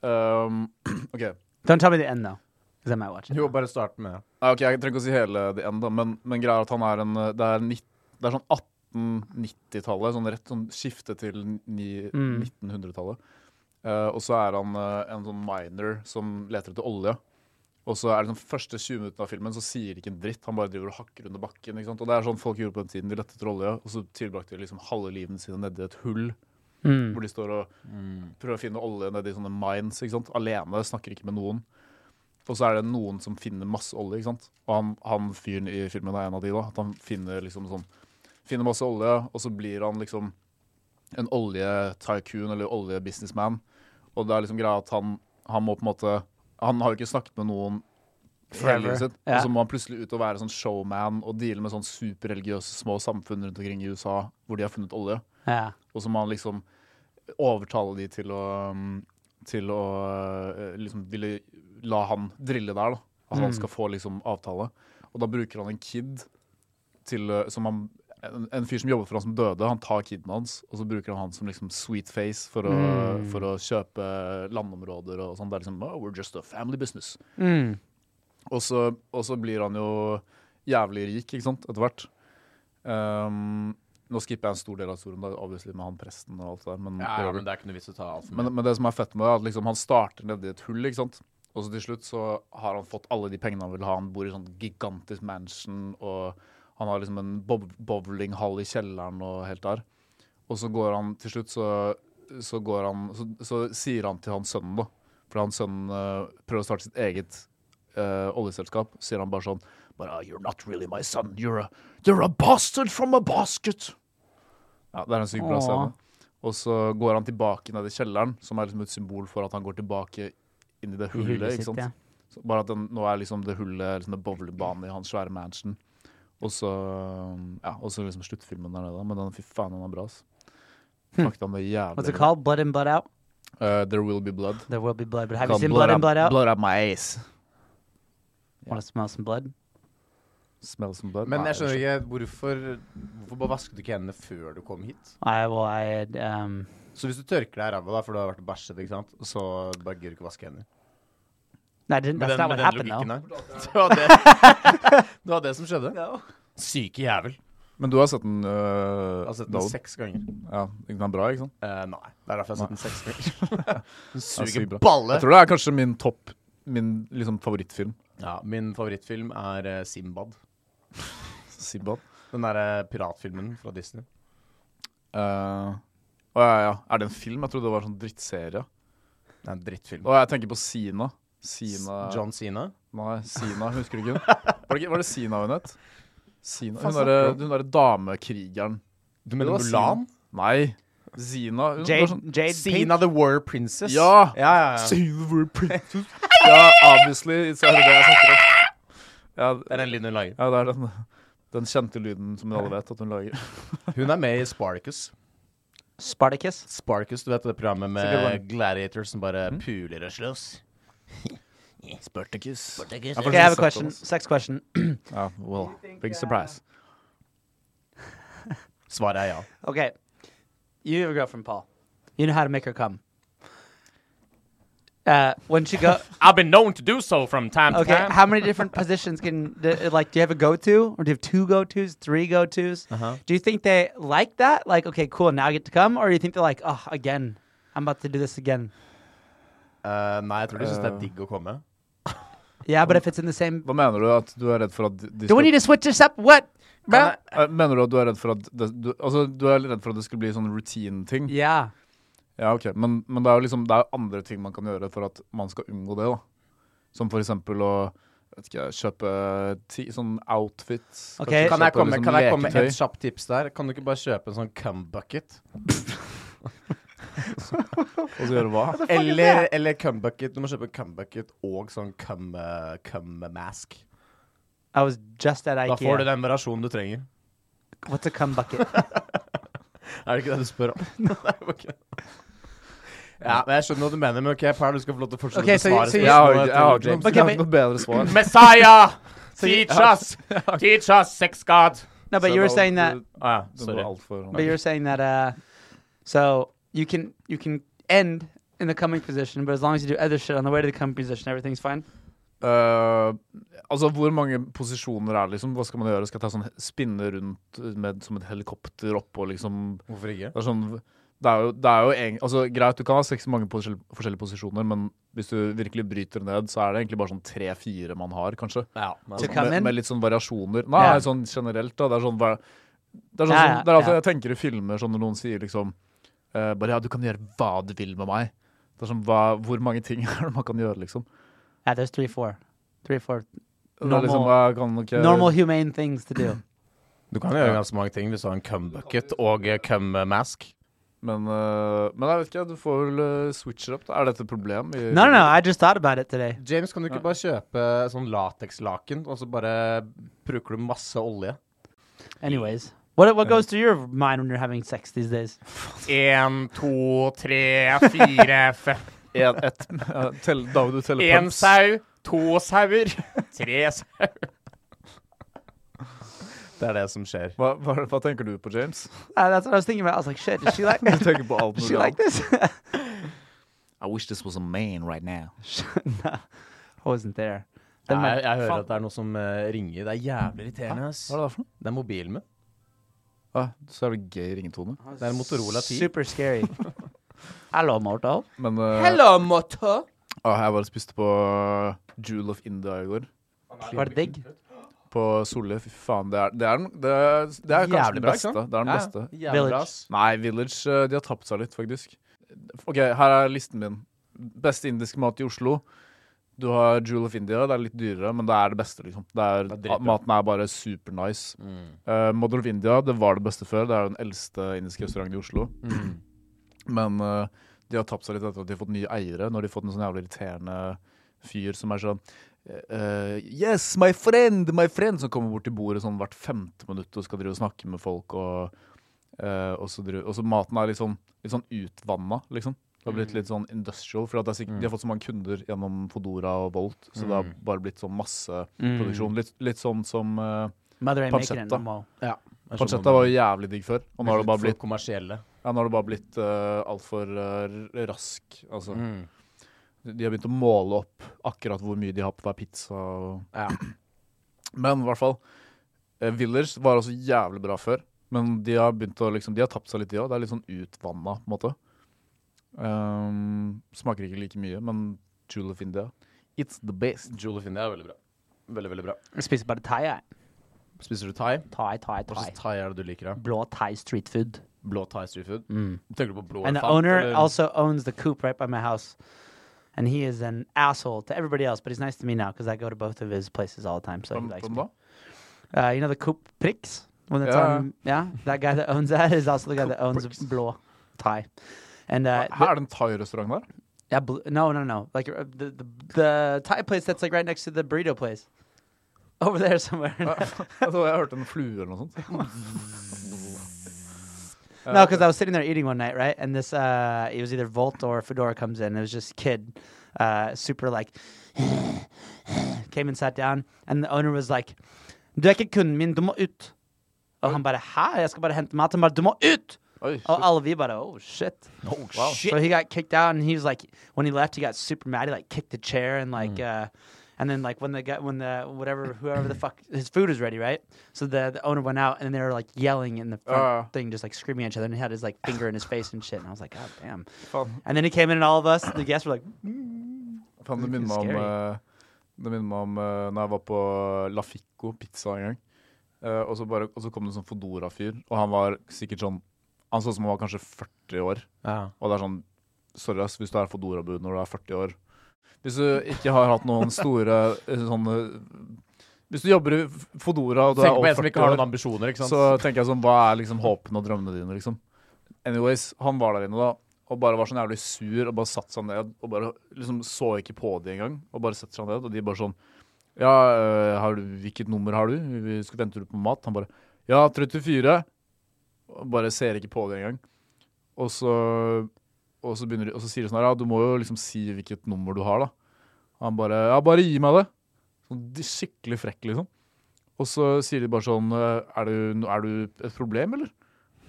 [SPEAKER 1] Um, OK.
[SPEAKER 2] Don't tell me the end though, because I might watch it.
[SPEAKER 3] Jo, bare start med det.
[SPEAKER 1] Ja, ok, Jeg trenger ikke å si hele The End, da, men, men greia er at han er en eh, Det er, nitt- det er sånn 1890-tallet. Sånn rett sånn skifte til ni,
[SPEAKER 2] Mm.
[SPEAKER 1] 1900-tallet. Eh, og så er han eh, en sånn miner som leter etter olje. Og så er det sånn første 20 minuttene av filmen så sier de ikke en dritt. Han bare driver og hakker under bakken. ikke sant? Og det er sånn folk gjorde på den tiden. De lette etter olje, og så tilbrakte de liksom halve livet sitt nedi et hull
[SPEAKER 2] Mm.
[SPEAKER 1] hvor de står og prøver å finne olje nedi sånne mines. ikke sant? Alene, snakker ikke med noen. Og så er det noen som finner masse olje. ikke sant? Og han, han fyren i filmen er en av de. da, at Han finner liksom sånn, finner masse olje, og så blir han liksom en oljetycoon eller oljebusinessman. Og det er liksom greia at han, han må på en måte Han har jo ikke snakket med noen hele
[SPEAKER 2] Forever.
[SPEAKER 1] livet sitt.
[SPEAKER 2] Ja.
[SPEAKER 1] Og så må han plutselig ut og være sånn showman og deale med sånn superreligiøse små samfunn rundt omkring i USA hvor de har funnet olje.
[SPEAKER 2] Yeah.
[SPEAKER 1] Og så må han liksom overtale de til å um, Til å eh, liksom ville la han drille der, da. At han
[SPEAKER 2] Mm.
[SPEAKER 1] skal få liksom avtale. Og da bruker han en kid til eh, som han en, en fyr som jobber for han som døde, han tar kiden hans, og så bruker han han som liksom sweet face for å,
[SPEAKER 2] Mm.
[SPEAKER 1] for å kjøpe landområder og sånn. Det er liksom oh, We're just a family business.
[SPEAKER 2] Mm.
[SPEAKER 1] Og så, og så blir han jo jævlig rik, ikke sant, etter hvert. Ehm, nå skipper jeg en stor del av historien, da, obviously med han presten og alt det der. Men,
[SPEAKER 3] Ja, ja,
[SPEAKER 1] Robert-
[SPEAKER 3] men det er ikke noe vits å ta alt for
[SPEAKER 1] men,
[SPEAKER 3] mye.
[SPEAKER 1] men det som er fett med det, er at liksom, han starter nedi et hull, ikke sant. Og så til slutt så har han fått alle de pengene han vil ha. Han bor i sånn gigantisk mansion, og han har liksom en bob bowlinghall i kjelleren og helt der. Og så går han til slutt, så, så går han så, så sier han til hans sønnen, da. For hans sønn eh, prøver å starte sitt eget eh, oljeselskap, sier han bare sånn But uh, you're not really my son. You're a, you're a bastard from a basket. Ja, det er en sykt bra
[SPEAKER 2] Åh.
[SPEAKER 1] scene. Og så går han tilbake ned i kjelleren, som er liksom et symbol for at han går tilbake inn i det
[SPEAKER 2] I
[SPEAKER 1] hullet.
[SPEAKER 2] hullet sitt,
[SPEAKER 1] ikke sant?
[SPEAKER 2] ja.
[SPEAKER 1] Så Bare at den, nå er liksom det hullet liksom en bowlingbane i hans svære mansion. Og så ja, og så liksom sluttfilmen der nede. Men den, fy faen, den er bra, ass.
[SPEAKER 2] Hm.
[SPEAKER 1] Fuck, den er jævlig
[SPEAKER 2] What's it
[SPEAKER 1] bra.
[SPEAKER 2] called? Blood in, blood out.
[SPEAKER 1] Eh, There Will Be Blood.
[SPEAKER 2] There will be blood, but have
[SPEAKER 1] Kan
[SPEAKER 2] you seen blood in,
[SPEAKER 1] up-
[SPEAKER 2] blood out?
[SPEAKER 1] Blood up my ass.
[SPEAKER 2] Want to smell some blood?
[SPEAKER 1] Smell some blood.
[SPEAKER 3] Men
[SPEAKER 1] Nei,
[SPEAKER 3] jeg skjønner ikke hvorfor Hvorfor bare vasket du ikke hendene før du kom hit?
[SPEAKER 2] I well, I had um,
[SPEAKER 3] Så hvis du tørker deg i ræva da, for du har vært og bæsjet, ikke sant, så bare gidder du ikke vaske hender.
[SPEAKER 2] no, I didn't. That's not what happened though.
[SPEAKER 3] der. Det var det. det var det som skjedde. Syke jævel.
[SPEAKER 1] Men du har sett den, eh,
[SPEAKER 3] Jeg har sett den
[SPEAKER 1] Daoud?
[SPEAKER 3] seks ganger.
[SPEAKER 1] Ja, den er bra, ikke sant?
[SPEAKER 3] Eh, nei. Det er derfor jeg har sett den seks ganger. Den
[SPEAKER 1] sykt
[SPEAKER 3] suger
[SPEAKER 1] bra.
[SPEAKER 3] balle.
[SPEAKER 1] Jeg tror det er kanskje min topp, min liksom favorittfilm.
[SPEAKER 3] Ja, min favorittfilm er eh, Simbad.
[SPEAKER 1] Sibbad.
[SPEAKER 3] Den derre piratfilmen fra Disney.
[SPEAKER 1] Uh, å ja, ja. Er det en film? Jeg trodde det var en sånn drittserie.
[SPEAKER 3] Det er en drittfilm.
[SPEAKER 1] Å, jeg tenker på Sina. Sina
[SPEAKER 3] John Sina.
[SPEAKER 1] Nei, Sina. Husker du ikke hun? Var det, ikke- var det Sina hun het? Sina. Hun
[SPEAKER 3] Faen, snakker
[SPEAKER 1] derre
[SPEAKER 3] du
[SPEAKER 1] hun derre damekrigeren.
[SPEAKER 3] Du
[SPEAKER 1] Det
[SPEAKER 3] mener
[SPEAKER 1] var
[SPEAKER 3] Mulan?
[SPEAKER 1] Nei. Zina. Hun
[SPEAKER 2] Jade,
[SPEAKER 1] var sånn
[SPEAKER 2] Jade Pink.
[SPEAKER 3] Sina the War Princess.
[SPEAKER 1] Ja.
[SPEAKER 3] ja, ja, ja.
[SPEAKER 1] Silver Princess. Um, Ja, obviously. Så er det det jeg snakker om. Ja,
[SPEAKER 3] Det er den lyden hun lager.
[SPEAKER 1] ja, det er den, den kjente lyden som vi alle vet at hun lager.
[SPEAKER 3] Hun er med i Spartacus.
[SPEAKER 2] Spartacus.
[SPEAKER 3] Spartacus, du vet det programmet
[SPEAKER 1] Sikkert
[SPEAKER 3] med gladiators som bare
[SPEAKER 4] Mm.
[SPEAKER 3] puler og slåss?
[SPEAKER 1] Spurticus.
[SPEAKER 3] Spartacus.
[SPEAKER 2] Okay, I have a question. Sex question.
[SPEAKER 1] sånn Ja, well, big surprise.
[SPEAKER 3] Svaret er ja.
[SPEAKER 2] Okay, you have a girlfriend, Paul. You know how to make her come. Uh, when she go,
[SPEAKER 4] I've been known to do so from time to
[SPEAKER 2] okay.
[SPEAKER 4] time.
[SPEAKER 2] how many different positions can d- like? Do you have a go-to, or do you have two go-tos, three go-tos? Do you think they like that? Like, okay, cool, now I get to come, or do you think they're like, oh, again, I'm about to do this again?
[SPEAKER 3] Eh, nei, jeg tror de syns det er digg å komme.
[SPEAKER 2] Yeah, but if it's in the same,
[SPEAKER 1] Hva mener du at du er redd for at de
[SPEAKER 2] do we
[SPEAKER 1] skal
[SPEAKER 2] need to switch this up? What? Bruh?
[SPEAKER 1] Eh, Mener du at du er redd for at det, du, altså, du er redd for at det skulle bli sånn routine-ting?
[SPEAKER 2] Yeah.
[SPEAKER 1] Ja, ok. Men, men det er jo liksom, det er andre ting man kan gjøre for at man skal unngå det. da. Som for eksempel å vet ikke, kjøpe ti, sånn outfits.
[SPEAKER 2] Ok.
[SPEAKER 1] kanskje
[SPEAKER 3] Kan jeg
[SPEAKER 1] kjøpe
[SPEAKER 3] komme,
[SPEAKER 1] liksom
[SPEAKER 3] kan jeg komme med
[SPEAKER 1] leketøy.
[SPEAKER 3] et kjapt tips der? Kan du ikke bare kjøpe en sånn cumbucket?
[SPEAKER 1] Og så gjøre hva?
[SPEAKER 3] Eller, eller cumbucket. Du må kjøpe cumbucket og sånn cum, eh, cum-mask.
[SPEAKER 2] I was just at
[SPEAKER 3] Da får du
[SPEAKER 2] IKEA.
[SPEAKER 3] den variasjonen du trenger.
[SPEAKER 2] What's a cum bucket?
[SPEAKER 3] Er det ikke det du spør om? Nei, ok. Ja, men Jeg skjønner hva du mener, men ok, Per, du skal få lov til å fortsette
[SPEAKER 2] Ok,
[SPEAKER 3] å
[SPEAKER 2] så-
[SPEAKER 3] besvare
[SPEAKER 2] så-
[SPEAKER 1] Jeg har,
[SPEAKER 3] spørsmålet
[SPEAKER 1] jeg har
[SPEAKER 3] til
[SPEAKER 1] ikke
[SPEAKER 3] James.
[SPEAKER 1] noe, jeg har ikke noe bedre svar.
[SPEAKER 4] Messiah! Teach us! Teach us, sex god!
[SPEAKER 2] No, but you were saying that.
[SPEAKER 3] Ah, ja,
[SPEAKER 1] Det var
[SPEAKER 3] sorry.
[SPEAKER 1] alt for
[SPEAKER 2] But you were saying that. Uh, so you can you can end in the coming position, but as long as you do other shit on the way to the coming position, everything's fine.
[SPEAKER 1] Eh, altså, hvor mange posisjoner er det, liksom? Hva skal man gjøre? Skal jeg ta sånn spinne rundt med, som et helikopter oppå, liksom
[SPEAKER 3] Hvorfor ikke?
[SPEAKER 1] Det er sånn det er jo, det er jo egen, altså, Greit, du kan ha seks mange posisjon- forskjellige posisjoner, men hvis du virkelig bryter ned, så er det egentlig bare sånn tre-fire man har, kanskje.
[SPEAKER 3] Ja,
[SPEAKER 2] Så
[SPEAKER 3] men,
[SPEAKER 2] kan-
[SPEAKER 1] Med,
[SPEAKER 2] men-
[SPEAKER 1] med litt sånn variasjoner. Nei,
[SPEAKER 2] Ja.
[SPEAKER 1] sånn generelt, da. Det er sånn, hva- det er, sånn,
[SPEAKER 2] Ja,
[SPEAKER 1] som-
[SPEAKER 2] ja,
[SPEAKER 1] det er alltid
[SPEAKER 2] ja.
[SPEAKER 1] jeg tenker i filmer sånn når noen sier liksom eh, Bare ja, du kan gjøre hva du vil med meg. Det er sånn, hva, Hvor mange ting er det man kan gjøre, liksom?
[SPEAKER 2] Yeah, there's three, four, three, four
[SPEAKER 1] Det er liksom,
[SPEAKER 2] Normal-
[SPEAKER 1] jeg kan ikke
[SPEAKER 2] normal humane things to do.
[SPEAKER 3] du kan gjøre ganske mange ting hvis du har en cumbucket og eh, cum-mask.
[SPEAKER 1] Men, eh, men jeg vet ikke, du får vel eh, switche opp. da. Er dette et problem? i-
[SPEAKER 2] No, no, no. I just thought about it today.
[SPEAKER 3] James, kan du ikke bare kjøpe sånn latekslaken, og så bare bruker du masse olje?
[SPEAKER 2] Anyways, what what goes through your mind when you're having sex these days?
[SPEAKER 4] En, to, tre, fire, fem.
[SPEAKER 1] En, et, ja, tell, David, du teller
[SPEAKER 4] En
[SPEAKER 1] pumps.
[SPEAKER 4] sau, to sauer, tre sauer.
[SPEAKER 3] Det er det som skjer.
[SPEAKER 1] Hva, hva, hva tenker du på, James?
[SPEAKER 2] Uh, that's what I was thinking about. I was like, shit, does she like
[SPEAKER 1] Du tenker på alt
[SPEAKER 2] does
[SPEAKER 1] mulig
[SPEAKER 2] she like
[SPEAKER 1] annet.
[SPEAKER 2] this?
[SPEAKER 1] I wish this was a man right now.
[SPEAKER 2] no, I wasn't there. Then
[SPEAKER 3] Jeg,
[SPEAKER 2] my-
[SPEAKER 3] jeg hører at det er noe som eh, ringer. Det er jævlig irriterende. ass.
[SPEAKER 1] Hva er det der for noe?
[SPEAKER 3] Det er mobilen min.
[SPEAKER 1] Ah, så jævlig gøy ringetone.
[SPEAKER 3] Det er en Motorola 10.
[SPEAKER 2] Super scary. Hello, Mortal.
[SPEAKER 1] Men eh,
[SPEAKER 3] motor!
[SPEAKER 1] ah, jeg bare spiste på eh, Jewel of India i går.
[SPEAKER 2] Var det digg?
[SPEAKER 1] På Solli. Fy faen, det er, det er, den- det er, det er kanskje
[SPEAKER 3] Jævlig
[SPEAKER 1] den
[SPEAKER 3] bra, ikke
[SPEAKER 1] beste.
[SPEAKER 3] sant?
[SPEAKER 1] Det er den beste.
[SPEAKER 3] Jævlig bra, ass.
[SPEAKER 1] Nei, Village, eh, de har tapt seg litt, faktisk. OK, her er listen min. Beste indisk mat i Oslo. Du har Jewel of India. Det er litt dyrere, men det er det beste, liksom. Det er,
[SPEAKER 3] Det er dritbra.
[SPEAKER 1] maten er bare supernice.
[SPEAKER 3] Mm.
[SPEAKER 1] Uh, Model of India, det var det beste før. Det er jo den eldste indiske restauranten i Oslo. Men eh, de har tapt seg litt etter at de har fått nye eiere, når de har fått en sånn jævlig irriterende fyr som er sånn eh, Yes, my friend, my friend! Som kommer bort til bordet sånn hvert femte minutt og skal drive og snakke med folk. Og, eh, og, så, drive, og så maten er litt sånn, litt sånn utvanna, liksom. Det har blitt litt sånn industrial, for at det er sikkert, de har fått så mange kunder gjennom Fodora og Volt, så det har bare blitt sånn masseproduksjon. Litt, litt sånn som eh,
[SPEAKER 2] Mother ain't making it no
[SPEAKER 1] Pancetta.
[SPEAKER 2] more.
[SPEAKER 3] Jeg skjønner hva du
[SPEAKER 1] Pancetta var
[SPEAKER 3] mener.
[SPEAKER 1] jo jævlig digg før, og nå har det bare
[SPEAKER 3] For
[SPEAKER 1] blitt,
[SPEAKER 3] kommersielle.
[SPEAKER 1] ja, nå har det bare blitt uh, altfor eh, rask. Altså,
[SPEAKER 3] Mm.
[SPEAKER 2] Mm.
[SPEAKER 1] De har begynt å måle opp akkurat hvor mye de har på hver pizza. Og...
[SPEAKER 3] Ja.
[SPEAKER 1] Men i hvert fall, eh, Villers var også jævlig bra før, men de har begynt å liksom, de har tapt seg litt, de òg. Det er litt sånn utvanna, på en måte. Ehm, smaker ikke like mye, men Jewel of India It's the best.
[SPEAKER 3] Jewel of India er veldig bra. Veldig, veldig bra.
[SPEAKER 2] Jeg spiser bare thai, jeg.
[SPEAKER 3] Spiser du thai?
[SPEAKER 2] Thai, thai,
[SPEAKER 3] Hva
[SPEAKER 2] thai.
[SPEAKER 3] slags thai er det du liker? da?
[SPEAKER 2] Blå thai street food.
[SPEAKER 3] Blå thai street food? Tenker du på blå
[SPEAKER 2] Mm. And the
[SPEAKER 3] elefant,
[SPEAKER 2] owner
[SPEAKER 3] eller?
[SPEAKER 2] also owns the coop right by my house. And he is an asshole to everybody else, but he's nice to me now because I go to both of his places all the time. So he
[SPEAKER 1] Hvem,
[SPEAKER 2] likes
[SPEAKER 1] hvem
[SPEAKER 2] me.
[SPEAKER 1] da?
[SPEAKER 2] Uh, you know the coop pricks? When it's
[SPEAKER 1] Yeah.
[SPEAKER 2] on, yeah, that guy that owns that is also the guy that owns Blå Thai. And uh,
[SPEAKER 1] Her er det en thai-restaurant der?
[SPEAKER 2] Yeah, blue, no, no, no. Like uh, the, the the Thai place that's like right next to the burrito place, over there somewhere.
[SPEAKER 1] Uh, Jeg tror jeg hørte en flue eller noe sånt.
[SPEAKER 2] no, because I was sitting there eating one night, right? And this, uh, it was either Volt or Fedora comes in. It was just kid, uh, super like, came and sat down, and the owner was like, "Du er ikke kunden min, du må ut." Og han bare, hæ? Jeg skal bare hente mat. Han bare, du må ut!
[SPEAKER 1] Oi,
[SPEAKER 2] Og alle vi bare, oh shit.
[SPEAKER 3] Oh, shit.
[SPEAKER 2] So he got kicked out, and he was like, when he left, he got super mad. He like kicked the chair and like, uh, and then like when the guy, when the whatever, whoever the fuck, his food was ready, right? So the, the owner went out, and they were like yelling in the front
[SPEAKER 1] Ah.
[SPEAKER 2] thing, just like screaming at each other, and he had his like finger in his face and shit. And I was like, god damn.
[SPEAKER 1] faen.
[SPEAKER 2] And then he came in, and all of us, the guests, were like,
[SPEAKER 1] Faen, det minner meg om, eh, det minner meg om eh, når jeg var på La Fico pizza en gang. Eh, og, så bare, og så kom det en sånn Fodora-fyr, og han var sikkert sånn Han så ut som han var kanskje 40 år.
[SPEAKER 3] Ja.
[SPEAKER 1] Og det er sånn Sorry, ass, hvis du er Fodora-bud når du er 40 år. Hvis du ikke har hatt noen store eh, sånne Hvis du jobber i Fodora og du
[SPEAKER 3] Tenk på
[SPEAKER 1] er
[SPEAKER 3] en som
[SPEAKER 1] over
[SPEAKER 3] ikke har
[SPEAKER 1] 40
[SPEAKER 3] noen
[SPEAKER 1] år,
[SPEAKER 3] ambisjoner, ikke sant?
[SPEAKER 1] så tenker jeg sånn Hva er liksom håpene og drømmene dine, liksom? Anyways, han var der inne da og bare var sånn jævlig sur og bare satte seg ned og bare liksom så ikke på de engang. Og bare setter seg ned, og de bare sånn Ja, øh, har du, hvilket nummer har du? Vi skal vente på mat. Han bare Ja, 34. og Bare ser ikke på det engang. Og så, og så, begynner, de- og så sier de sånn her, ja, du må jo liksom si hvilket nummer du har, da. Og han bare, ja, bare gi meg det. Sånn, de- skikkelig frekk, liksom. Og så sier de bare sånn, er du, er du et problem, eller?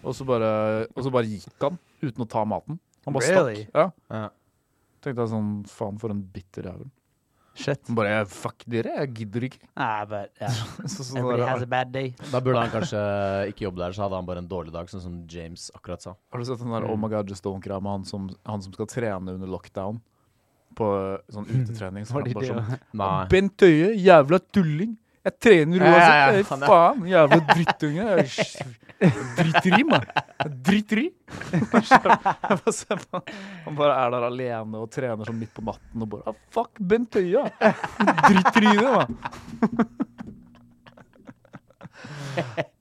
[SPEAKER 1] Og så bare, og så bare gikk han, uten å ta maten. Han bare
[SPEAKER 2] Really?
[SPEAKER 1] stakk. Ja.
[SPEAKER 3] Ja.
[SPEAKER 1] Tenkte jeg sånn, faen for en bitter jævel.
[SPEAKER 2] Shit.
[SPEAKER 1] Han bare, fuck dere, jeg gidder ikke.
[SPEAKER 2] Ah, but yeah,
[SPEAKER 1] Så, sånn
[SPEAKER 2] everybody
[SPEAKER 1] der,
[SPEAKER 2] has a bad day.
[SPEAKER 3] Da burde han kanskje ikke jobbe der, så hadde han bare en dårlig dag, sånn som James akkurat sa.
[SPEAKER 1] Har du sett den der Oh my god, just don't-greia med han som, han som skal trene under lockdown? På eh, sånn utetrening. Så
[SPEAKER 2] Var
[SPEAKER 1] er
[SPEAKER 2] det
[SPEAKER 1] han
[SPEAKER 2] det,
[SPEAKER 1] bare sånn,
[SPEAKER 3] Nei.
[SPEAKER 1] Bent Høie, jævla tulling! Jeg trener
[SPEAKER 3] Ja, ja,
[SPEAKER 1] uansett!
[SPEAKER 3] ja,
[SPEAKER 1] Hey,
[SPEAKER 3] han er-
[SPEAKER 1] faen, jævla drittunge! Jeg er Dritteri, mann! Jeg er Dritteri! Jeg bare ser på han. Han bare er der alene og trener sånn midt på natten og bare ah, Fuck Bent Høie! ja. Drittryne, mann!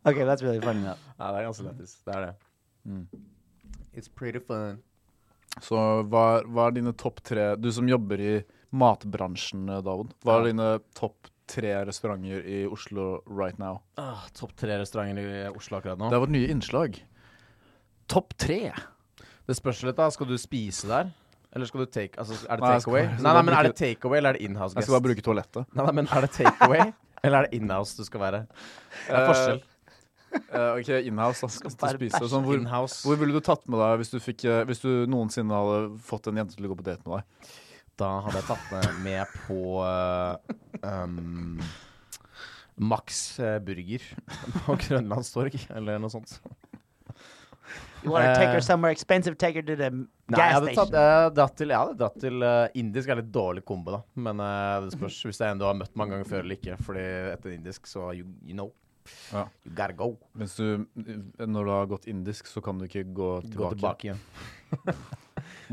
[SPEAKER 2] Okay, that's really funny though.
[SPEAKER 3] Nei, det er ganske lættis. Det er det. Mm. It's pretty fun.
[SPEAKER 1] Så hva, hva er dine topp tre Du som jobber i matbransjen, David. Hva er dine topp tre restauranter i Oslo right now?
[SPEAKER 3] Ah, Topp tre restauranter i Oslo akkurat nå.
[SPEAKER 1] Det har vært nye innslag. Topp tre?
[SPEAKER 3] Det spørs litt, da. Skal du spise der? Eller skal du take altså, Er det
[SPEAKER 1] Nei, jeg skal-
[SPEAKER 3] takeaway?
[SPEAKER 1] jeg
[SPEAKER 3] Nei,
[SPEAKER 1] skal
[SPEAKER 3] nei,
[SPEAKER 1] bare
[SPEAKER 3] men er
[SPEAKER 1] bruke-
[SPEAKER 3] det takeaway eller er det inhouse
[SPEAKER 1] Jeg
[SPEAKER 3] guest?
[SPEAKER 1] skal bare bruke toalettet.
[SPEAKER 3] Nei, nei, men er det takeaway eller er det inhouse du skal være? Det er forskjell.
[SPEAKER 1] Eh, ok, inhouse, da. Skal
[SPEAKER 2] bare
[SPEAKER 1] spise. Sånn, hvor,
[SPEAKER 3] Inhouse
[SPEAKER 1] hvor ville du tatt med deg hvis du, fikk, eh, hvis du noensinne hadde fått en jente til å gå på date med deg?
[SPEAKER 3] Da hadde jeg tatt med, med på eh, um, Max eh, Burger på Grønlandstorg, eller noe sånt.
[SPEAKER 2] You want to take
[SPEAKER 3] Uh,
[SPEAKER 2] her somewhere expensive? Take her to the m-
[SPEAKER 3] Nei, jeg
[SPEAKER 2] gas
[SPEAKER 3] hadde,
[SPEAKER 2] station.
[SPEAKER 3] tatt, jeg hadde dratt til, jeg hadde dratt til eh, indisk. er litt dårlig kombo, da. Men eh, det spørs hvis det er en du har møtt mange ganger før eller ikke. Fordi etter indisk, så you, you know.
[SPEAKER 1] Ja.
[SPEAKER 3] You gotta go.
[SPEAKER 1] Mens du, når du har gått indisk, så kan du ikke gå tilbake.
[SPEAKER 3] Gå tilbake igjen.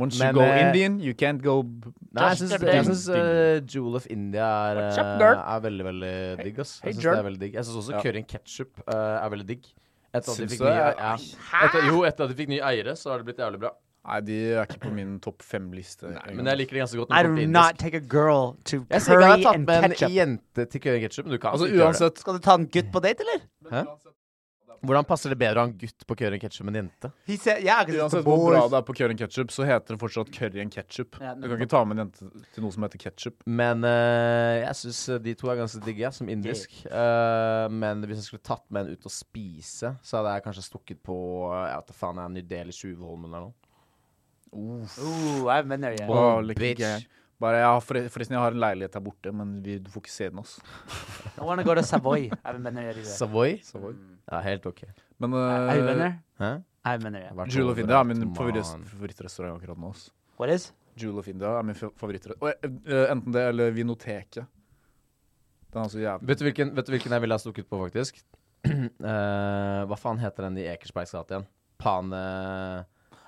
[SPEAKER 1] Once
[SPEAKER 3] Men,
[SPEAKER 1] you go
[SPEAKER 3] eh,
[SPEAKER 1] Indian, you can't go b-
[SPEAKER 3] Nei, jeg syns, jeg syns eh, Jewel of India er,
[SPEAKER 1] What's up,
[SPEAKER 3] eh,
[SPEAKER 1] nerd?
[SPEAKER 3] er veldig, veldig digg, ass.
[SPEAKER 1] hey,
[SPEAKER 3] Jeg syns det
[SPEAKER 1] Jern.
[SPEAKER 3] er veldig digg. Jeg syns også
[SPEAKER 1] Ja.
[SPEAKER 3] curry and ketchup eh, er veldig digg. Etter at de
[SPEAKER 1] Syns
[SPEAKER 3] fikk
[SPEAKER 1] du
[SPEAKER 3] nye,
[SPEAKER 1] det?
[SPEAKER 3] ja. etter, jo, etter at de fikk nye eiere, så har det blitt jævlig bra.
[SPEAKER 1] Nei, de er ikke på min topp fem-liste.
[SPEAKER 3] Men jeg liker det ganske godt. når
[SPEAKER 2] I
[SPEAKER 3] det kommer
[SPEAKER 2] do
[SPEAKER 3] til
[SPEAKER 2] not
[SPEAKER 3] indisk.
[SPEAKER 2] take a girl to
[SPEAKER 3] Jeg sier ikke at
[SPEAKER 2] curry
[SPEAKER 3] jeg har tatt
[SPEAKER 2] and
[SPEAKER 3] med en
[SPEAKER 2] ketchup.
[SPEAKER 3] jente til curry and ketchup, men du kan
[SPEAKER 1] Altså
[SPEAKER 3] ikke gjøre det.
[SPEAKER 1] uansett
[SPEAKER 2] Skal du ta en gutt på date, eller?
[SPEAKER 3] Hvordan passer det bedre å ha en gutt på curry and ketchup enn en jente?
[SPEAKER 2] He said, yeah, because it's the
[SPEAKER 1] Uansett hvor bra
[SPEAKER 2] boys.
[SPEAKER 1] det er på curry and ketchup, så heter det fortsatt curry and ketchup.
[SPEAKER 2] Ja,
[SPEAKER 1] Du kan ikke ta med en jente til noe som heter ketchup.
[SPEAKER 3] Men eh, jeg syns de to er ganske digge, som indisk. Eh, men hvis jeg skulle tatt med en ut og spise, så hadde jeg kanskje stukket på eh, jeg vet da faen, en ny del i Tjuvholmen eller noe.
[SPEAKER 2] Ooh, I haven't been there yet.
[SPEAKER 1] Åh, like
[SPEAKER 3] bitch.
[SPEAKER 1] gæren. Bare, jeg har, forre- forresten, jeg har en leilighet her borte, men vi, du får ikke se den. Ass.
[SPEAKER 2] I want to go to Savoy. I haven't been there yet either.
[SPEAKER 3] Savoy?
[SPEAKER 1] Savoy.
[SPEAKER 3] Ja, helt OK.
[SPEAKER 1] Men
[SPEAKER 2] Have you been
[SPEAKER 1] uh,
[SPEAKER 2] there?
[SPEAKER 3] Hæ?
[SPEAKER 2] I haven't been there yet.
[SPEAKER 1] Jewel of India er min
[SPEAKER 3] Overalt,
[SPEAKER 1] favoritt-
[SPEAKER 3] man.
[SPEAKER 1] favorittrestaurant akkurat nå. Ass.
[SPEAKER 2] What is?
[SPEAKER 1] Jewel of India er min fa- favorittrestaurant. Og, eh, eh, enten det eller Vinoteket. Den er så jævlig
[SPEAKER 3] Vet du, hvilken, vet du hvilken jeg ville ha stukket på, faktisk? Eh, hva faen heter den i Ekersbergs gate igjen? Pane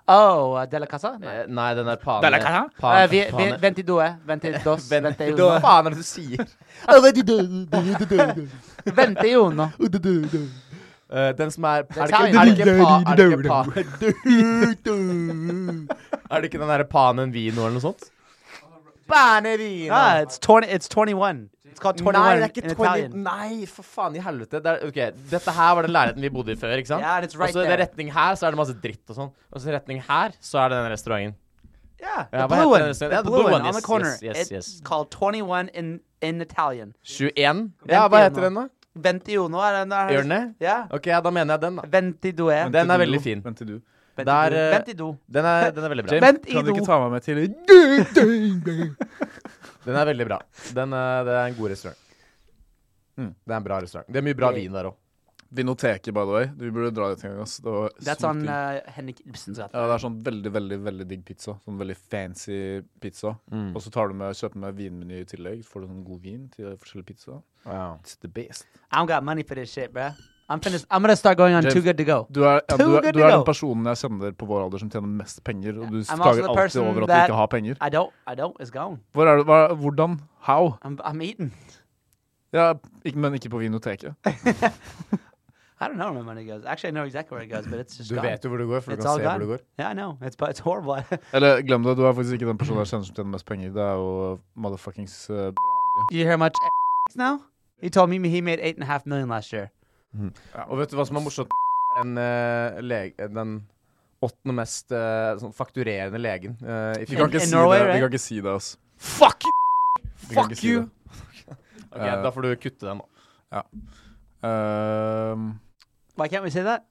[SPEAKER 2] Oh, uh, Della Casa? Nei.
[SPEAKER 3] eh, Nei, den der Pane
[SPEAKER 2] Della Casa?
[SPEAKER 3] Pan-
[SPEAKER 2] Eh, vi, vi,
[SPEAKER 3] Pane-
[SPEAKER 2] ventidue. Ventidos.
[SPEAKER 3] Ven- Hva
[SPEAKER 2] Venteuno.
[SPEAKER 3] faen er det du sier?
[SPEAKER 2] Venteuno.
[SPEAKER 3] Eh, den som er Er det
[SPEAKER 2] tar
[SPEAKER 3] ikke,
[SPEAKER 2] jeg.
[SPEAKER 3] er det ikke, pa, er det ikke pa, Er det ikke den derre Panen vino eller noe sånt?
[SPEAKER 2] Ah, it's 20. It's 21. It's called 21
[SPEAKER 3] nei, det er
[SPEAKER 2] in
[SPEAKER 3] ikke 20,
[SPEAKER 2] Italian.
[SPEAKER 3] nei, for faen i helvete. Det er, ok, Dette her var den leiligheten vi bodde i før. ikke sant?
[SPEAKER 2] Yeah, it's right
[SPEAKER 3] og så i
[SPEAKER 2] there.
[SPEAKER 3] den retning her så er det masse dritt og sånn. Og så i retning her så er det den restauranten.
[SPEAKER 2] Yeah,
[SPEAKER 3] Yeah, but
[SPEAKER 2] the blue
[SPEAKER 3] I
[SPEAKER 2] one.
[SPEAKER 3] understand.
[SPEAKER 2] The
[SPEAKER 3] Yeah, the
[SPEAKER 2] blue
[SPEAKER 3] blue
[SPEAKER 2] one
[SPEAKER 3] one,
[SPEAKER 2] on the
[SPEAKER 3] yes,
[SPEAKER 2] corner.
[SPEAKER 3] yes, yes,
[SPEAKER 2] It's
[SPEAKER 3] yes.
[SPEAKER 2] called 21 in in Italian.
[SPEAKER 3] 21? Ja, hva heter den, da?
[SPEAKER 2] Ventiuno er den der.
[SPEAKER 3] Gjør den det?
[SPEAKER 2] Ja.
[SPEAKER 3] Ok, ja, da mener jeg den, da.
[SPEAKER 2] Ventidue.
[SPEAKER 3] Den er
[SPEAKER 1] Ventiduo,
[SPEAKER 3] veldig fin.
[SPEAKER 1] Ventiduo.
[SPEAKER 3] der, eh,
[SPEAKER 2] Ventido.
[SPEAKER 3] Den er, den er veldig bra.
[SPEAKER 2] James- Vent i
[SPEAKER 1] Kan du
[SPEAKER 2] do.
[SPEAKER 1] ikke ta meg med til
[SPEAKER 3] Den er veldig bra. Den er, det er en god restaurant.
[SPEAKER 1] Mm.
[SPEAKER 3] Det er en bra restaurant. Det er mye bra vin der òg.
[SPEAKER 1] Vinoteket, by the way. Du burde dra dit en gang. Ass. Det var
[SPEAKER 2] That's
[SPEAKER 3] sånn,
[SPEAKER 2] on
[SPEAKER 1] sykt digg.
[SPEAKER 3] eh,
[SPEAKER 2] uh, Henrik Ibsens gate.
[SPEAKER 1] Ja, det er sånn veldig, veldig veldig digg pizza. Sånn veldig fancy pizza.
[SPEAKER 3] Mm.
[SPEAKER 1] Og så tar du med, kjøper med vinmeny i tillegg. Får du sånn god vin til forskjellige pizza. It's the best.
[SPEAKER 2] I don't got money for this shit, bruh. I'm finished. I'm gonna start going on
[SPEAKER 1] James-
[SPEAKER 2] Too Good to Go.
[SPEAKER 1] Du er, ja, du,
[SPEAKER 2] Too
[SPEAKER 1] er,
[SPEAKER 2] good
[SPEAKER 1] du
[SPEAKER 2] to
[SPEAKER 1] er
[SPEAKER 2] go.
[SPEAKER 1] den personen jeg kjenner på vår alder som tjener mest penger, og
[SPEAKER 2] I'm
[SPEAKER 1] du
[SPEAKER 2] also
[SPEAKER 1] klager
[SPEAKER 2] the
[SPEAKER 1] alltid
[SPEAKER 2] person
[SPEAKER 1] over at
[SPEAKER 2] that-
[SPEAKER 1] du ikke har penger.
[SPEAKER 2] I don't. I don't. It's gone.
[SPEAKER 1] Hvor er du, hva, hvordan? How?
[SPEAKER 2] I'm. I'm eating.
[SPEAKER 1] Ja, ikke, men ikke på Vinoteket.
[SPEAKER 2] I don't know where my money goes. Actually, I know exactly where it goes, but it's just
[SPEAKER 3] Du
[SPEAKER 2] gone.
[SPEAKER 3] vet jo hvor du går, for du
[SPEAKER 2] It's
[SPEAKER 3] kan
[SPEAKER 2] all
[SPEAKER 3] se hvor du
[SPEAKER 2] gone.
[SPEAKER 3] går.
[SPEAKER 2] Yeah, I know. It's but it's horrible.
[SPEAKER 1] Eller glem det, du er faktisk ikke den personen jeg kjenner som tjener mest penger. Det er jo motherfuckings eh,
[SPEAKER 2] you hear how much now? He told me he made eight and a half million last year.
[SPEAKER 1] ja,
[SPEAKER 3] Og vet du hva som er morsomt? den, eh, leg- den åttende mest eh, sånn fakturerende legen eh, i
[SPEAKER 1] Vi kan
[SPEAKER 2] In-
[SPEAKER 1] ikke
[SPEAKER 2] in
[SPEAKER 1] si
[SPEAKER 2] Norway,
[SPEAKER 1] det,
[SPEAKER 2] right?
[SPEAKER 1] vi kan ikke si det, ass.
[SPEAKER 3] Fuck you!
[SPEAKER 1] Vi kan
[SPEAKER 3] Fuck
[SPEAKER 1] ikke si
[SPEAKER 3] you!
[SPEAKER 1] det.
[SPEAKER 3] Ok,
[SPEAKER 1] Eh.
[SPEAKER 3] Da får du kutte den. da.
[SPEAKER 1] Ehm,
[SPEAKER 2] Why can't we say that?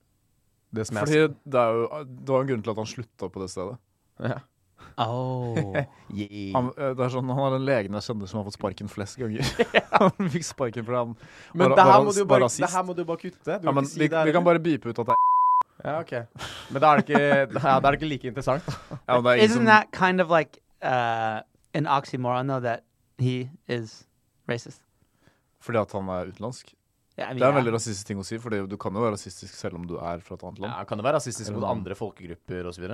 [SPEAKER 3] Det som jeg
[SPEAKER 1] fordi det, er jo, det var jo en grunn til at han slutta på det stedet.
[SPEAKER 3] Ja.
[SPEAKER 2] Oh.
[SPEAKER 1] Han, eh, det er sånn, han er den legen jeg kjenner som har fått sparken flest ganger. han fikk sparken fordi han
[SPEAKER 3] Men
[SPEAKER 1] var,
[SPEAKER 3] det her,
[SPEAKER 1] var,
[SPEAKER 3] må du
[SPEAKER 1] var,
[SPEAKER 3] jo bare,
[SPEAKER 1] rasist.
[SPEAKER 3] det her må du jo bare kutte. Du
[SPEAKER 1] ja,
[SPEAKER 3] kan
[SPEAKER 1] men
[SPEAKER 3] ikke si
[SPEAKER 1] vi,
[SPEAKER 3] det her.
[SPEAKER 1] vi kan bare beepe ut at det er
[SPEAKER 3] Ja, ok. Men da er det ikke, ja, da er det ikke like interessant.
[SPEAKER 1] ja, men det er ingen
[SPEAKER 2] Isn't
[SPEAKER 1] som-
[SPEAKER 2] that kind of like uh, an oxymoron, though, that he is racist?
[SPEAKER 1] Fordi at han er utenlandsk.
[SPEAKER 2] Yeah, I mean,
[SPEAKER 1] Det er en
[SPEAKER 2] yeah.
[SPEAKER 1] veldig rasistisk ting å si, for det er jo- du kan jo være rasistisk selv om du er fra et annet land.
[SPEAKER 3] Ja, kan det være rasistisk mot
[SPEAKER 1] Eller-
[SPEAKER 3] andre folkegrupper osv.?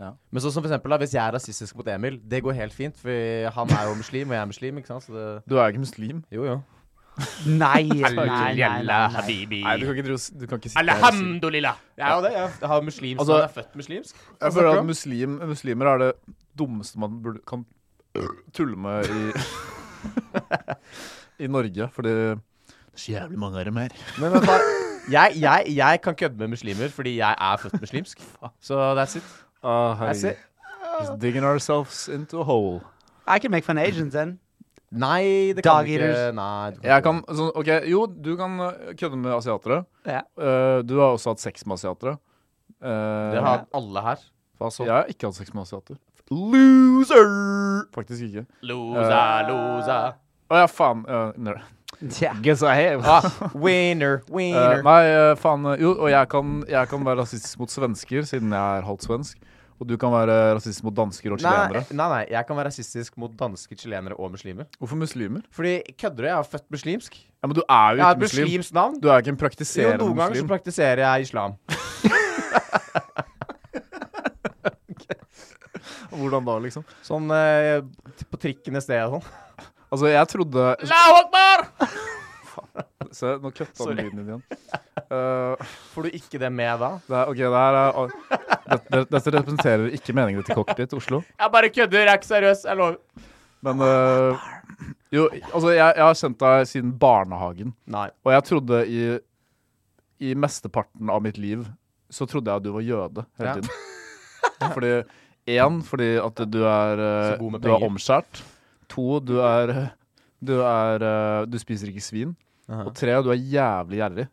[SPEAKER 1] Ja.
[SPEAKER 3] Men sånn som for eksempel, da, hvis jeg er rasistisk mot Emil, det går helt fint, for han er jo muslim, og jeg er muslim, ikke sant? Så det,
[SPEAKER 1] Du er jo ikke muslim.
[SPEAKER 3] jo, jo.
[SPEAKER 2] Nei, nei, nei, nei,
[SPEAKER 4] Alhamdulillah,
[SPEAKER 2] nei.
[SPEAKER 4] habibi.
[SPEAKER 1] Nei, du kan ikke, drive og s- du kan ikke si
[SPEAKER 4] Alhamdulillah.
[SPEAKER 3] Jeg er jo det. Jeg har muslimsk,
[SPEAKER 1] Altså-
[SPEAKER 3] men jeg er født muslimsk.
[SPEAKER 1] Jeg føler at muslim, muslimer er det dummeste man burde, kan tulle med i, i Norge, fordi det er så jævlig mange av dem her.
[SPEAKER 3] Men vent da. Jeg, jeg, jeg kan kødde med muslimer fordi jeg er født muslimsk. Så that's it.
[SPEAKER 1] Ah,
[SPEAKER 3] That's
[SPEAKER 1] herregud.
[SPEAKER 3] it.
[SPEAKER 1] Just digging ourselves into a hole.
[SPEAKER 2] I can make fun of Asians then.
[SPEAKER 3] Nei, det
[SPEAKER 2] Dog
[SPEAKER 3] kan du ikke.
[SPEAKER 2] eaters.
[SPEAKER 3] Nei, du
[SPEAKER 1] Jeg
[SPEAKER 3] ikke.
[SPEAKER 1] kan, sånn, ok, Jo, du kan øh, kødde med asiatere.
[SPEAKER 2] Yeah.
[SPEAKER 1] Eh, du har også hatt sex med asiatere. Eh,
[SPEAKER 3] Det har alle her. Hva så?
[SPEAKER 1] Jeg har ikke hatt sex med asiater.
[SPEAKER 3] Loser!
[SPEAKER 1] Faktisk ikke.
[SPEAKER 4] Losa,
[SPEAKER 3] Eh,
[SPEAKER 4] losa.
[SPEAKER 1] Å ja, faen. eh, nerd.
[SPEAKER 2] Yeah.
[SPEAKER 1] Guess I have.
[SPEAKER 3] Ah, winner, winner.
[SPEAKER 1] Eh, nei, eh, faen. eh, Jo, og jeg kan, jeg kan være rasistisk mot svensker, siden jeg er halvt svensk. Og du kan være rasistisk mot dansker og
[SPEAKER 3] Nei,
[SPEAKER 1] chilenere.
[SPEAKER 3] nei, nei, jeg kan være rasistisk mot dansker, chilenere og muslimer.
[SPEAKER 1] Hvorfor muslimer?
[SPEAKER 3] Fordi, kødder du? Jeg er født muslimsk.
[SPEAKER 1] Ja, Men du er
[SPEAKER 3] Jeg
[SPEAKER 1] jo
[SPEAKER 3] har et
[SPEAKER 1] ikke muslim.
[SPEAKER 3] muslimsk navn.
[SPEAKER 1] Du er ikke en
[SPEAKER 3] Jo,
[SPEAKER 1] praktiserende
[SPEAKER 3] noen ganger så
[SPEAKER 1] muslim.
[SPEAKER 3] praktiserer jeg islam.
[SPEAKER 1] Hvordan da, liksom?
[SPEAKER 3] Sånn eh, t- på trikken et sted og sånn.
[SPEAKER 1] Altså, jeg trodde
[SPEAKER 4] Allahu akbar!
[SPEAKER 1] Se, nå kutta den
[SPEAKER 3] Sorry.
[SPEAKER 1] lyden din igjen. Eh,
[SPEAKER 3] Får du ikke det med da?
[SPEAKER 1] det er, OK, det her er dette, dette representerer ikke meningene til kokket ditt, Oslo.
[SPEAKER 4] Jeg bare kødder, jeg er ikke seriøs. Jeg lover.
[SPEAKER 1] Men eh, Jo, altså, jeg, jeg har kjent deg siden barnehagen.
[SPEAKER 3] Nei.
[SPEAKER 1] Og jeg trodde i, i mesteparten av mitt liv så trodde jeg at du var jøde hele
[SPEAKER 3] Ja.
[SPEAKER 1] tiden. Fordi én, fordi at du er, eh,
[SPEAKER 3] Så god med
[SPEAKER 1] du er
[SPEAKER 3] penger.
[SPEAKER 1] omskjært. To, du er, eh, du, er eh, du spiser ikke svin.
[SPEAKER 3] Aha.
[SPEAKER 1] Og tre, du er jævlig gjerrig.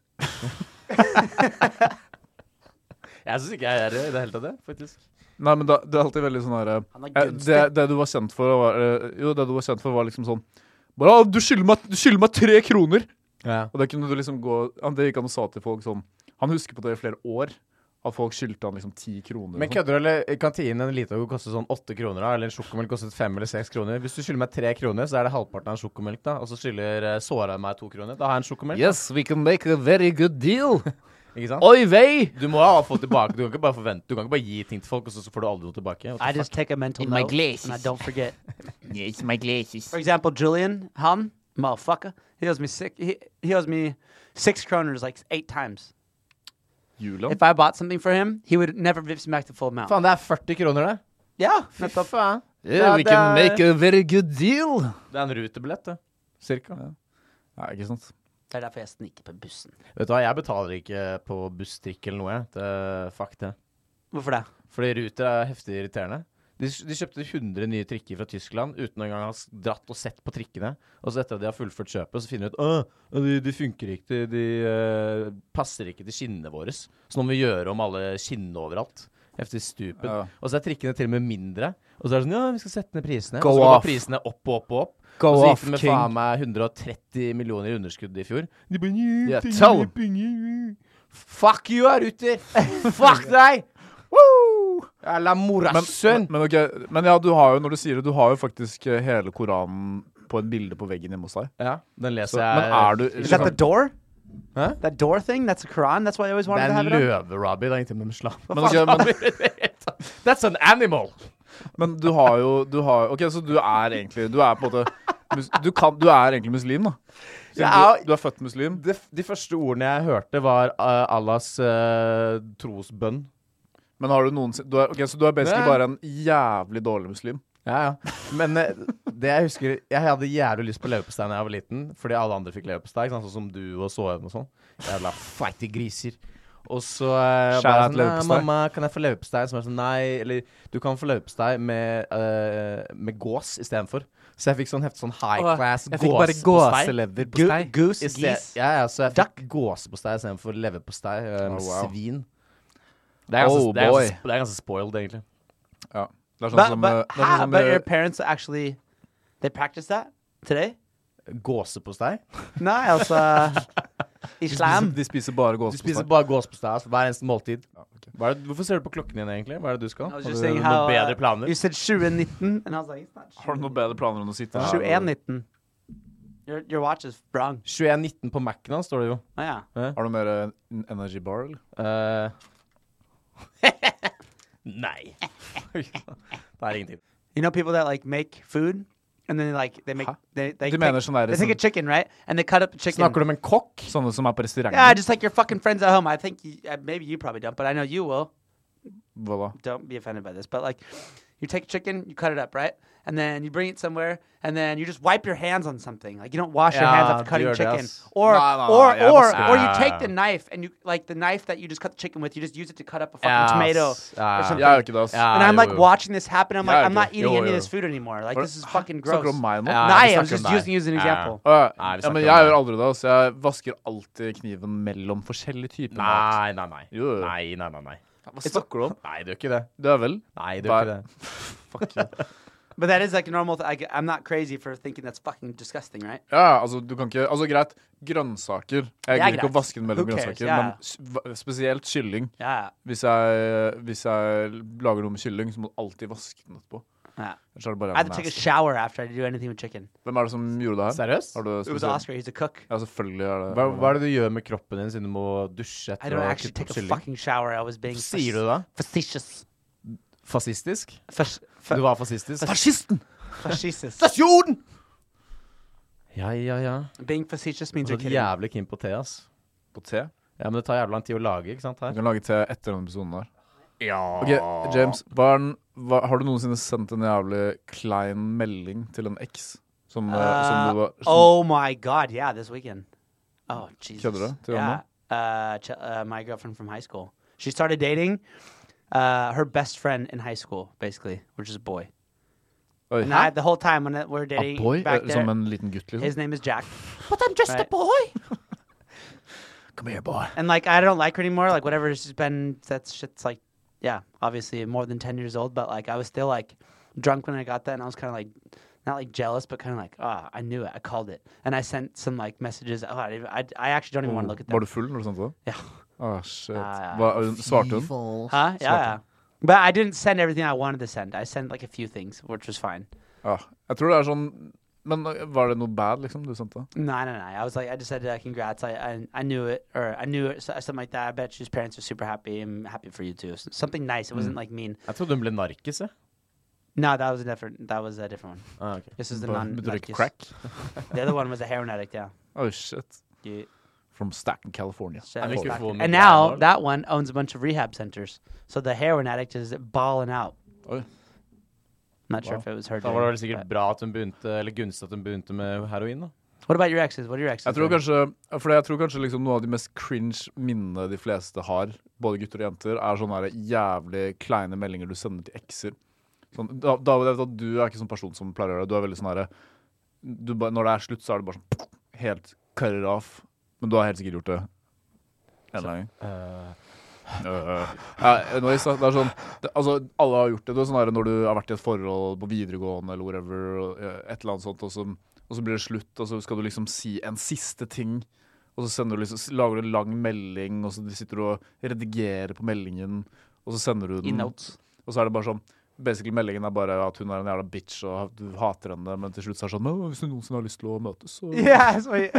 [SPEAKER 3] Jeg syns ikke jeg er det i det hele tatt, det, faktisk.
[SPEAKER 1] Nei, men da, det er alltid veldig sånn herre
[SPEAKER 2] Uh,
[SPEAKER 1] det, det du var kjent for, var eh, Jo, det du var kjent for, var liksom sånn bare, «Å, du, skylder meg, du skylder meg tre kroner!
[SPEAKER 3] Ja.
[SPEAKER 1] Og det kunne du liksom gå ja, Det gikk han og sa til folk sånn Han husker på det i flere år. At folk skyldte han liksom ti kroner. og
[SPEAKER 3] Men
[SPEAKER 1] sånn.
[SPEAKER 3] kødder du, eller kantinen en liten koster sånn åtte kroner, da, eller en sjokomelk kostet fem eller seks kroner. Hvis du skylder meg tre kroner, så er det halvparten av en sjokomelk, da. Og så skylder eh, Såra meg to kroner. Da har jeg en sjokomelk.
[SPEAKER 1] Yes, we can make a very good deal.
[SPEAKER 3] Ikke sant?
[SPEAKER 1] Oi vei!
[SPEAKER 3] Du må ha få tilbake. Du kan ikke bare forvente Du kan ikke bare gi ting til folk, og så så får du aldri noe tilbake. What the
[SPEAKER 2] I just take a mental
[SPEAKER 4] In my
[SPEAKER 2] note and I
[SPEAKER 4] glasses.
[SPEAKER 2] don't forget.
[SPEAKER 4] Yes, my glasses.
[SPEAKER 2] For example, Julian Han, motherfucker, he owes me six. He, he owes me six kroners like eight times.
[SPEAKER 1] Julian.
[SPEAKER 2] If I bought something for him, he would never give me back the full amount.
[SPEAKER 3] Faen, det er 40 kroner, det.
[SPEAKER 2] Yeah,
[SPEAKER 3] Fy faen.
[SPEAKER 1] Yeah, we
[SPEAKER 3] det
[SPEAKER 1] can
[SPEAKER 3] er-
[SPEAKER 1] make a very good deal.
[SPEAKER 3] Det er en rutebillett, det. Cirka.
[SPEAKER 1] Nei, ikke sant.
[SPEAKER 2] Det er derfor jeg sniker på bussen.
[SPEAKER 3] Vet du hva, jeg betaler ikke på buss, trikk eller noe, jeg. Det, fuck det.
[SPEAKER 2] Hvorfor det?
[SPEAKER 3] Fordi ruter er heftig irriterende. De, de kjøpte 100 nye trikker fra Tyskland uten engang å ha s- dratt og sett på trikkene. Og så etter at de har fullført kjøpet, så finner de ut at de, de funker ikke, de, de eh, passer ikke til skinnene våre. Så nå må vi gjøre om alle skinnene overalt. Heftig stupid.
[SPEAKER 1] Ja.
[SPEAKER 3] Og så er trikkene til og med mindre. Og så er det sånn Ja, vi skal sette ned prisene.
[SPEAKER 1] Go
[SPEAKER 3] og så går
[SPEAKER 1] off.
[SPEAKER 3] prisene opp og opp og opp.
[SPEAKER 1] Go
[SPEAKER 3] og så
[SPEAKER 1] off,
[SPEAKER 3] gikk det med
[SPEAKER 1] king.
[SPEAKER 3] faen meg 130 millioner i underskudd i fjor. De bare «Nye
[SPEAKER 1] Yeah,
[SPEAKER 3] penger,
[SPEAKER 1] tell 'em.
[SPEAKER 3] penger». Fuck you, Ruter! Fuck deg! Woo! Jævla
[SPEAKER 1] Men, men,
[SPEAKER 3] morasønn!
[SPEAKER 1] men, ok, men ja, du har jo, når du sier det, du har jo faktisk eh, hele Koranen på et bilde på veggen hjemme hos deg.
[SPEAKER 3] Ja, den
[SPEAKER 1] Så,
[SPEAKER 3] leser jeg.
[SPEAKER 1] men er du liksom-
[SPEAKER 2] Is that the door?
[SPEAKER 3] Huh?
[SPEAKER 2] That door thing? That's a Quran? That's why I always
[SPEAKER 3] det
[SPEAKER 2] wanted to
[SPEAKER 3] er
[SPEAKER 2] have
[SPEAKER 3] en
[SPEAKER 2] it on?
[SPEAKER 3] løve, Robbie. Det er ingenting med islam.
[SPEAKER 1] men, ok, men,
[SPEAKER 3] That's an animal!
[SPEAKER 1] men du har jo du har, OK, så du er egentlig Du er på en måte mus- Du, kan, du er egentlig muslim, da. Siden
[SPEAKER 3] Ja,
[SPEAKER 1] du, du er født muslim.
[SPEAKER 3] De, de første ordene jeg hørte, var eh, Allahs eh, trosbønn.
[SPEAKER 1] Men har du noensinne du er, ok, Så du er basically
[SPEAKER 3] Nei.
[SPEAKER 1] bare en jævlig dårlig muslim.
[SPEAKER 3] Ja, ja. Men eh, det jeg husker Jeg hadde jævlig lyst på leverpostei da jeg var liten, fordi alle andre fikk leverpostei, ikke sant, sånn som du og Såheim og sånn. Jævla feite griser. Og så eh, var jeg
[SPEAKER 1] Shout out
[SPEAKER 3] sånn Nei,
[SPEAKER 1] leverpostei."
[SPEAKER 3] mamma, kan jeg få leverpostei? Som er sånn Nei, eller du kan få leverpostei med, eh, med gås istedenfor. Så jeg fikk sånn heftig sånn high
[SPEAKER 2] Åh,
[SPEAKER 3] class
[SPEAKER 2] jeg fikk bare
[SPEAKER 3] gåseleverpostei.
[SPEAKER 2] Go- goose,
[SPEAKER 3] I sted-
[SPEAKER 2] geese.
[SPEAKER 3] Ja, ja, så jeg fikk gåsepostei istedenfor leverpostei eh, med
[SPEAKER 1] Oh, wow.
[SPEAKER 3] svin. Det er, ganske,
[SPEAKER 1] Oh,
[SPEAKER 3] det, er
[SPEAKER 1] boy.
[SPEAKER 3] ganske, det er ganske spoiled, egentlig.
[SPEAKER 1] Ja. Det er sånn
[SPEAKER 2] But,
[SPEAKER 1] som,
[SPEAKER 2] but,
[SPEAKER 1] eh, det er sånn
[SPEAKER 2] how,
[SPEAKER 1] som
[SPEAKER 2] but
[SPEAKER 1] eh,
[SPEAKER 2] your parents actually they practice that today?
[SPEAKER 3] Gåsepostei?
[SPEAKER 2] Nei, altså uh, Islam.
[SPEAKER 1] de spiser bare
[SPEAKER 3] Du spiser
[SPEAKER 1] gåsepostei.
[SPEAKER 3] bare gåsepostei altså, hver eneste måltid.
[SPEAKER 1] Ja, ok.
[SPEAKER 3] Hva er det, hvorfor ser du på klokken din, egentlig? Hva er det du skal?
[SPEAKER 2] I
[SPEAKER 3] Har
[SPEAKER 2] was
[SPEAKER 3] du
[SPEAKER 2] just saying
[SPEAKER 3] noen
[SPEAKER 2] how, uh,
[SPEAKER 3] bedre planer?
[SPEAKER 2] You said 2019, and I was like, it's not
[SPEAKER 1] Har du noen bedre planer enn å sitte her?
[SPEAKER 2] 2119. Your, your watch is wrong.
[SPEAKER 3] 21.19 på Mac-en hans, står det jo.
[SPEAKER 2] Oh, yeah.
[SPEAKER 1] Har du mer eh, en energy bar, eller?
[SPEAKER 3] Eh, Nei. det er ingenting.
[SPEAKER 2] You know people that like make food and then like they make
[SPEAKER 1] Huh?
[SPEAKER 2] they they,
[SPEAKER 1] Du
[SPEAKER 2] take,
[SPEAKER 1] mener sånn der
[SPEAKER 2] they take a
[SPEAKER 1] sånn,
[SPEAKER 2] chicken right and they cut up the chicken.
[SPEAKER 3] Snakker du om en kokk?
[SPEAKER 1] Sånne som er på restaurant?
[SPEAKER 2] yeah, just like your fucking friends at home. I think you, uh, maybe you probably don't, but I know you will.
[SPEAKER 1] Hva da?
[SPEAKER 2] Don't be offended by this, but like you take chicken, you cut it up right, and then you bring it somewhere, and then you just wipe your hands on something. Like you don't wash your hands
[SPEAKER 3] Yeah,
[SPEAKER 2] after cutting
[SPEAKER 3] dude,
[SPEAKER 2] chicken,
[SPEAKER 3] that's-
[SPEAKER 2] or
[SPEAKER 3] Nah, nah,
[SPEAKER 2] or
[SPEAKER 3] yeah,
[SPEAKER 2] or
[SPEAKER 3] that's-
[SPEAKER 2] or you take
[SPEAKER 3] Ah.
[SPEAKER 2] the knife and you like the knife that you just cut the chicken with. You just use it to cut up a fucking
[SPEAKER 3] Ja,
[SPEAKER 2] tomato.
[SPEAKER 3] ass. Ja.
[SPEAKER 2] or something.
[SPEAKER 1] Jeg gjør ikke det, ass.
[SPEAKER 3] Ja,
[SPEAKER 2] and I'm
[SPEAKER 3] jo,
[SPEAKER 2] like
[SPEAKER 3] jo.
[SPEAKER 2] watching this happen. I'm like,
[SPEAKER 1] Ah, Yeah,
[SPEAKER 2] I'm not
[SPEAKER 1] dude.
[SPEAKER 2] eating
[SPEAKER 3] Yo,
[SPEAKER 2] any
[SPEAKER 3] yo.
[SPEAKER 2] of this food anymore. Like,
[SPEAKER 1] Or-
[SPEAKER 2] this is fucking gross.
[SPEAKER 1] Snakker du om meg nå?
[SPEAKER 3] Ja, vi
[SPEAKER 2] Nei, I was
[SPEAKER 3] snakker om
[SPEAKER 2] just
[SPEAKER 3] deg.
[SPEAKER 2] using, using
[SPEAKER 3] Ja.
[SPEAKER 2] an example.
[SPEAKER 1] Å, ja.
[SPEAKER 3] Nei, vi
[SPEAKER 1] ja,
[SPEAKER 3] snakker
[SPEAKER 1] men
[SPEAKER 3] om
[SPEAKER 1] jeg
[SPEAKER 3] det.
[SPEAKER 1] gjør aldri det. Altså. Jeg vasker alltid kniven mellom forskjellige typer mat.
[SPEAKER 3] Nei, nei, nei.
[SPEAKER 1] Jo, jo.
[SPEAKER 3] Nei, nei, nei, nei.
[SPEAKER 1] Hva snakker du om?
[SPEAKER 3] Nei, det gjør ikke det.
[SPEAKER 1] Det er vel
[SPEAKER 3] Nei, det gjør ikke
[SPEAKER 1] Bare-
[SPEAKER 3] det.
[SPEAKER 1] Fuck you.
[SPEAKER 2] But that is like a normal. Th- I, am not crazy for thinking that's fucking disgusting, right?
[SPEAKER 1] Ja, altså, du kan ikke Altså, greit. Grønnsaker. Jeg gidder ikke
[SPEAKER 2] greit.
[SPEAKER 1] å vaske den mellom
[SPEAKER 2] Who cares?
[SPEAKER 1] grønnsaker,
[SPEAKER 2] Ja.
[SPEAKER 1] men s- va- spesielt kylling.
[SPEAKER 2] Yeah.
[SPEAKER 1] Hvis jeg, hvis jeg lager noe med kylling, så må du alltid vaske den etterpå.
[SPEAKER 2] yeah.
[SPEAKER 1] Ellers er det bare
[SPEAKER 2] I had to take a
[SPEAKER 1] nasty.
[SPEAKER 2] shower after I do anything with chicken.
[SPEAKER 1] Hvem er det som gjorde det her?
[SPEAKER 3] Seriøst?
[SPEAKER 1] Har du
[SPEAKER 2] It was
[SPEAKER 1] spesielt-
[SPEAKER 2] Oscar. He's a cook.
[SPEAKER 1] Ja, selvfølgelig er det
[SPEAKER 3] Hva, hva er det du gjør med kroppen din siden du må dusje
[SPEAKER 2] I
[SPEAKER 3] etter
[SPEAKER 2] don't
[SPEAKER 3] å ha
[SPEAKER 2] actually
[SPEAKER 3] kuttet
[SPEAKER 2] take
[SPEAKER 3] opp
[SPEAKER 2] a
[SPEAKER 3] kylling?
[SPEAKER 2] fucking shower. I was being
[SPEAKER 3] Hva sier du da?
[SPEAKER 2] facetious.
[SPEAKER 3] Fascistisk?
[SPEAKER 2] Fas- fa-
[SPEAKER 3] Du var fascistisk?
[SPEAKER 1] Fascisten!
[SPEAKER 2] Facetious.
[SPEAKER 3] Fascistasjon! Ja, ja, ja.
[SPEAKER 2] being facetious means
[SPEAKER 3] Så
[SPEAKER 2] you're kidding.
[SPEAKER 3] jævlig keen på te, ass.
[SPEAKER 1] På te?
[SPEAKER 3] Ja, men det tar jævlig lang tid å lage, ikke sant,
[SPEAKER 1] Du
[SPEAKER 3] her?
[SPEAKER 1] kan lage te etter denne episoden her. Ok, James, hva er den, hva, har du noensinne sendt en jævlig klein melding til en eks? Som, eh, som
[SPEAKER 2] Uh,
[SPEAKER 1] du var som,
[SPEAKER 2] oh my god! Yeah, this weekend. Oh Jesus!
[SPEAKER 1] Kjødder du til
[SPEAKER 2] yeah.
[SPEAKER 1] henne?
[SPEAKER 2] Uh, ch- uh, my girlfriend from high school. She started dating uh, her best friend in high school, basically, which is a boy.
[SPEAKER 1] Oi,
[SPEAKER 2] And I, the whole time when it, we're
[SPEAKER 1] A
[SPEAKER 2] dating
[SPEAKER 1] boy?
[SPEAKER 2] back
[SPEAKER 1] Eh,
[SPEAKER 2] there,
[SPEAKER 1] Som en liten gutt,
[SPEAKER 2] his
[SPEAKER 1] liksom?
[SPEAKER 2] name is Jack.
[SPEAKER 4] But I'm just
[SPEAKER 2] a Right.
[SPEAKER 4] boy.
[SPEAKER 1] Come here, boy.
[SPEAKER 2] And like, I don't like her anymore. Like, whatever she's been, that shit's like, yeah, obviously more than 10 years old, but like, I was still like drunk when I got that. And I was kind of like, not like jealous, but kind of like, ah, I knew it. I called it. And I sent some like messages. Oh, I, I, I actually don't even want to look at
[SPEAKER 1] Var
[SPEAKER 2] them.
[SPEAKER 1] du full når du sendte det?
[SPEAKER 2] Ja.
[SPEAKER 1] Ah, shit.
[SPEAKER 2] Ah, ja.
[SPEAKER 1] Hva, svarte hun?
[SPEAKER 2] Huh? Yeah, yeah. But I didn't send everything I wanted to send. I sent like a few things, which was fine.
[SPEAKER 1] Ja. Jeg tror det er sånn Men eh, var det noe bad, liksom, du sendte?
[SPEAKER 2] No, no, no. I was like, I just said, uh, congrats. I, I, I knew it, or I knew it, so- something like that. I bet his parents were super happy. I'm happy for you too. S- Something nice. It wasn't like mean.
[SPEAKER 3] Jeg trodde hun ble narkis, jeg.
[SPEAKER 2] No, that was a different. That was a different one.
[SPEAKER 3] Ah, ok.
[SPEAKER 2] This is the
[SPEAKER 1] But-
[SPEAKER 2] non.
[SPEAKER 1] but like
[SPEAKER 2] like this-
[SPEAKER 1] crack?
[SPEAKER 2] The other one was a heroin addict. Yeah.
[SPEAKER 1] Oh, shit.
[SPEAKER 2] You-
[SPEAKER 1] From Stacken, California.
[SPEAKER 2] so-
[SPEAKER 3] And we could form a
[SPEAKER 2] and now
[SPEAKER 3] dialogue.
[SPEAKER 2] that one owns a bunch of rehab centers. So the heroin addict is balling out.
[SPEAKER 1] Oi.
[SPEAKER 2] Not sure
[SPEAKER 1] Wow.
[SPEAKER 2] if it was her.
[SPEAKER 3] Da
[SPEAKER 2] doing
[SPEAKER 3] var det
[SPEAKER 2] it,
[SPEAKER 3] vel sikkert
[SPEAKER 2] but-
[SPEAKER 3] bra at hun begynte Eller gunstig at hun begynte med heroin, da.
[SPEAKER 2] What about your exes? What are your exes?
[SPEAKER 1] Jeg tror
[SPEAKER 2] doing?
[SPEAKER 1] kanskje, for jeg tror kanskje liksom noe av de mest cringe minnene de fleste har, både gutter og jenter, er sånne her jævlig kleine meldinger du sender til ekser. Sånn, da, da, jeg vet at du er ikke sånn person som pleier å gjøre det. Du er veldig sånn herre du ba- Når det er slutt, så er det bare sånn helt cutter off. Men du har helt sikkert gjort det en eller annen gang. Øh. Ja, nå i stad, det er sånn det, Altså, alle har gjort det. Det er sånn her når du har vært i et forhold på videregående eller whatever, og, eh, et eller annet sånt, og så, og så blir det slutt, og så skal du liksom si en siste ting. Og så sender du liksom, lager du en lang melding, og så sitter du og redigerer på meldingen, og så sender du
[SPEAKER 4] Mm.
[SPEAKER 2] In
[SPEAKER 1] den.
[SPEAKER 2] notes.
[SPEAKER 1] Og så er det bare sånn Basically Meldingen er bare at hun er en jævla bitch, og du hater henne, men til slutt så er det sånn «Å, Hvis du noensinne har lyst til å møtes, så
[SPEAKER 2] Yeah. that's what you-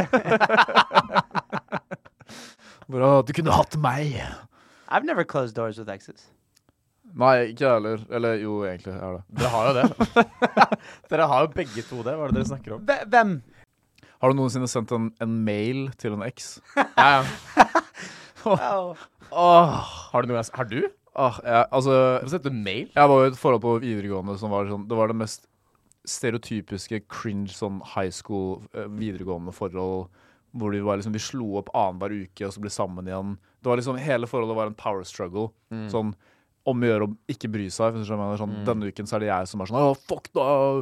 [SPEAKER 1] bare, «Å, Du kunne hatt meg!
[SPEAKER 2] I've never closed doors with exes.
[SPEAKER 1] Nei, ikke jeg heller. Eller jo, egentlig. Jeg er det.
[SPEAKER 3] Dere har jo det. dere har jo begge to det. Hva er det dere snakker om?
[SPEAKER 2] Th- them.
[SPEAKER 1] Har du noensinne sendt en, en mail til en eks?
[SPEAKER 3] Ja, ja.
[SPEAKER 2] Oh.
[SPEAKER 1] Åh,
[SPEAKER 3] Har du noe jeg Har du?
[SPEAKER 1] åh, jeg, altså
[SPEAKER 3] Har du sett en mail?
[SPEAKER 1] Jeg var jo i et forhold på videregående som var sånn Det var det mest stereotypiske cringe sånn high school eh, videregående forhold Hvor de, var liksom, de slo opp annenhver uke og så ble sammen igjen. Det var liksom, Hele forholdet var en power struggle.
[SPEAKER 3] Mm.
[SPEAKER 1] Sånn om å gjøre å ikke bry seg. Hvis du skjønner hva jeg mener. sånn, Denne uken så er det jeg som er sånn Å, fuck da!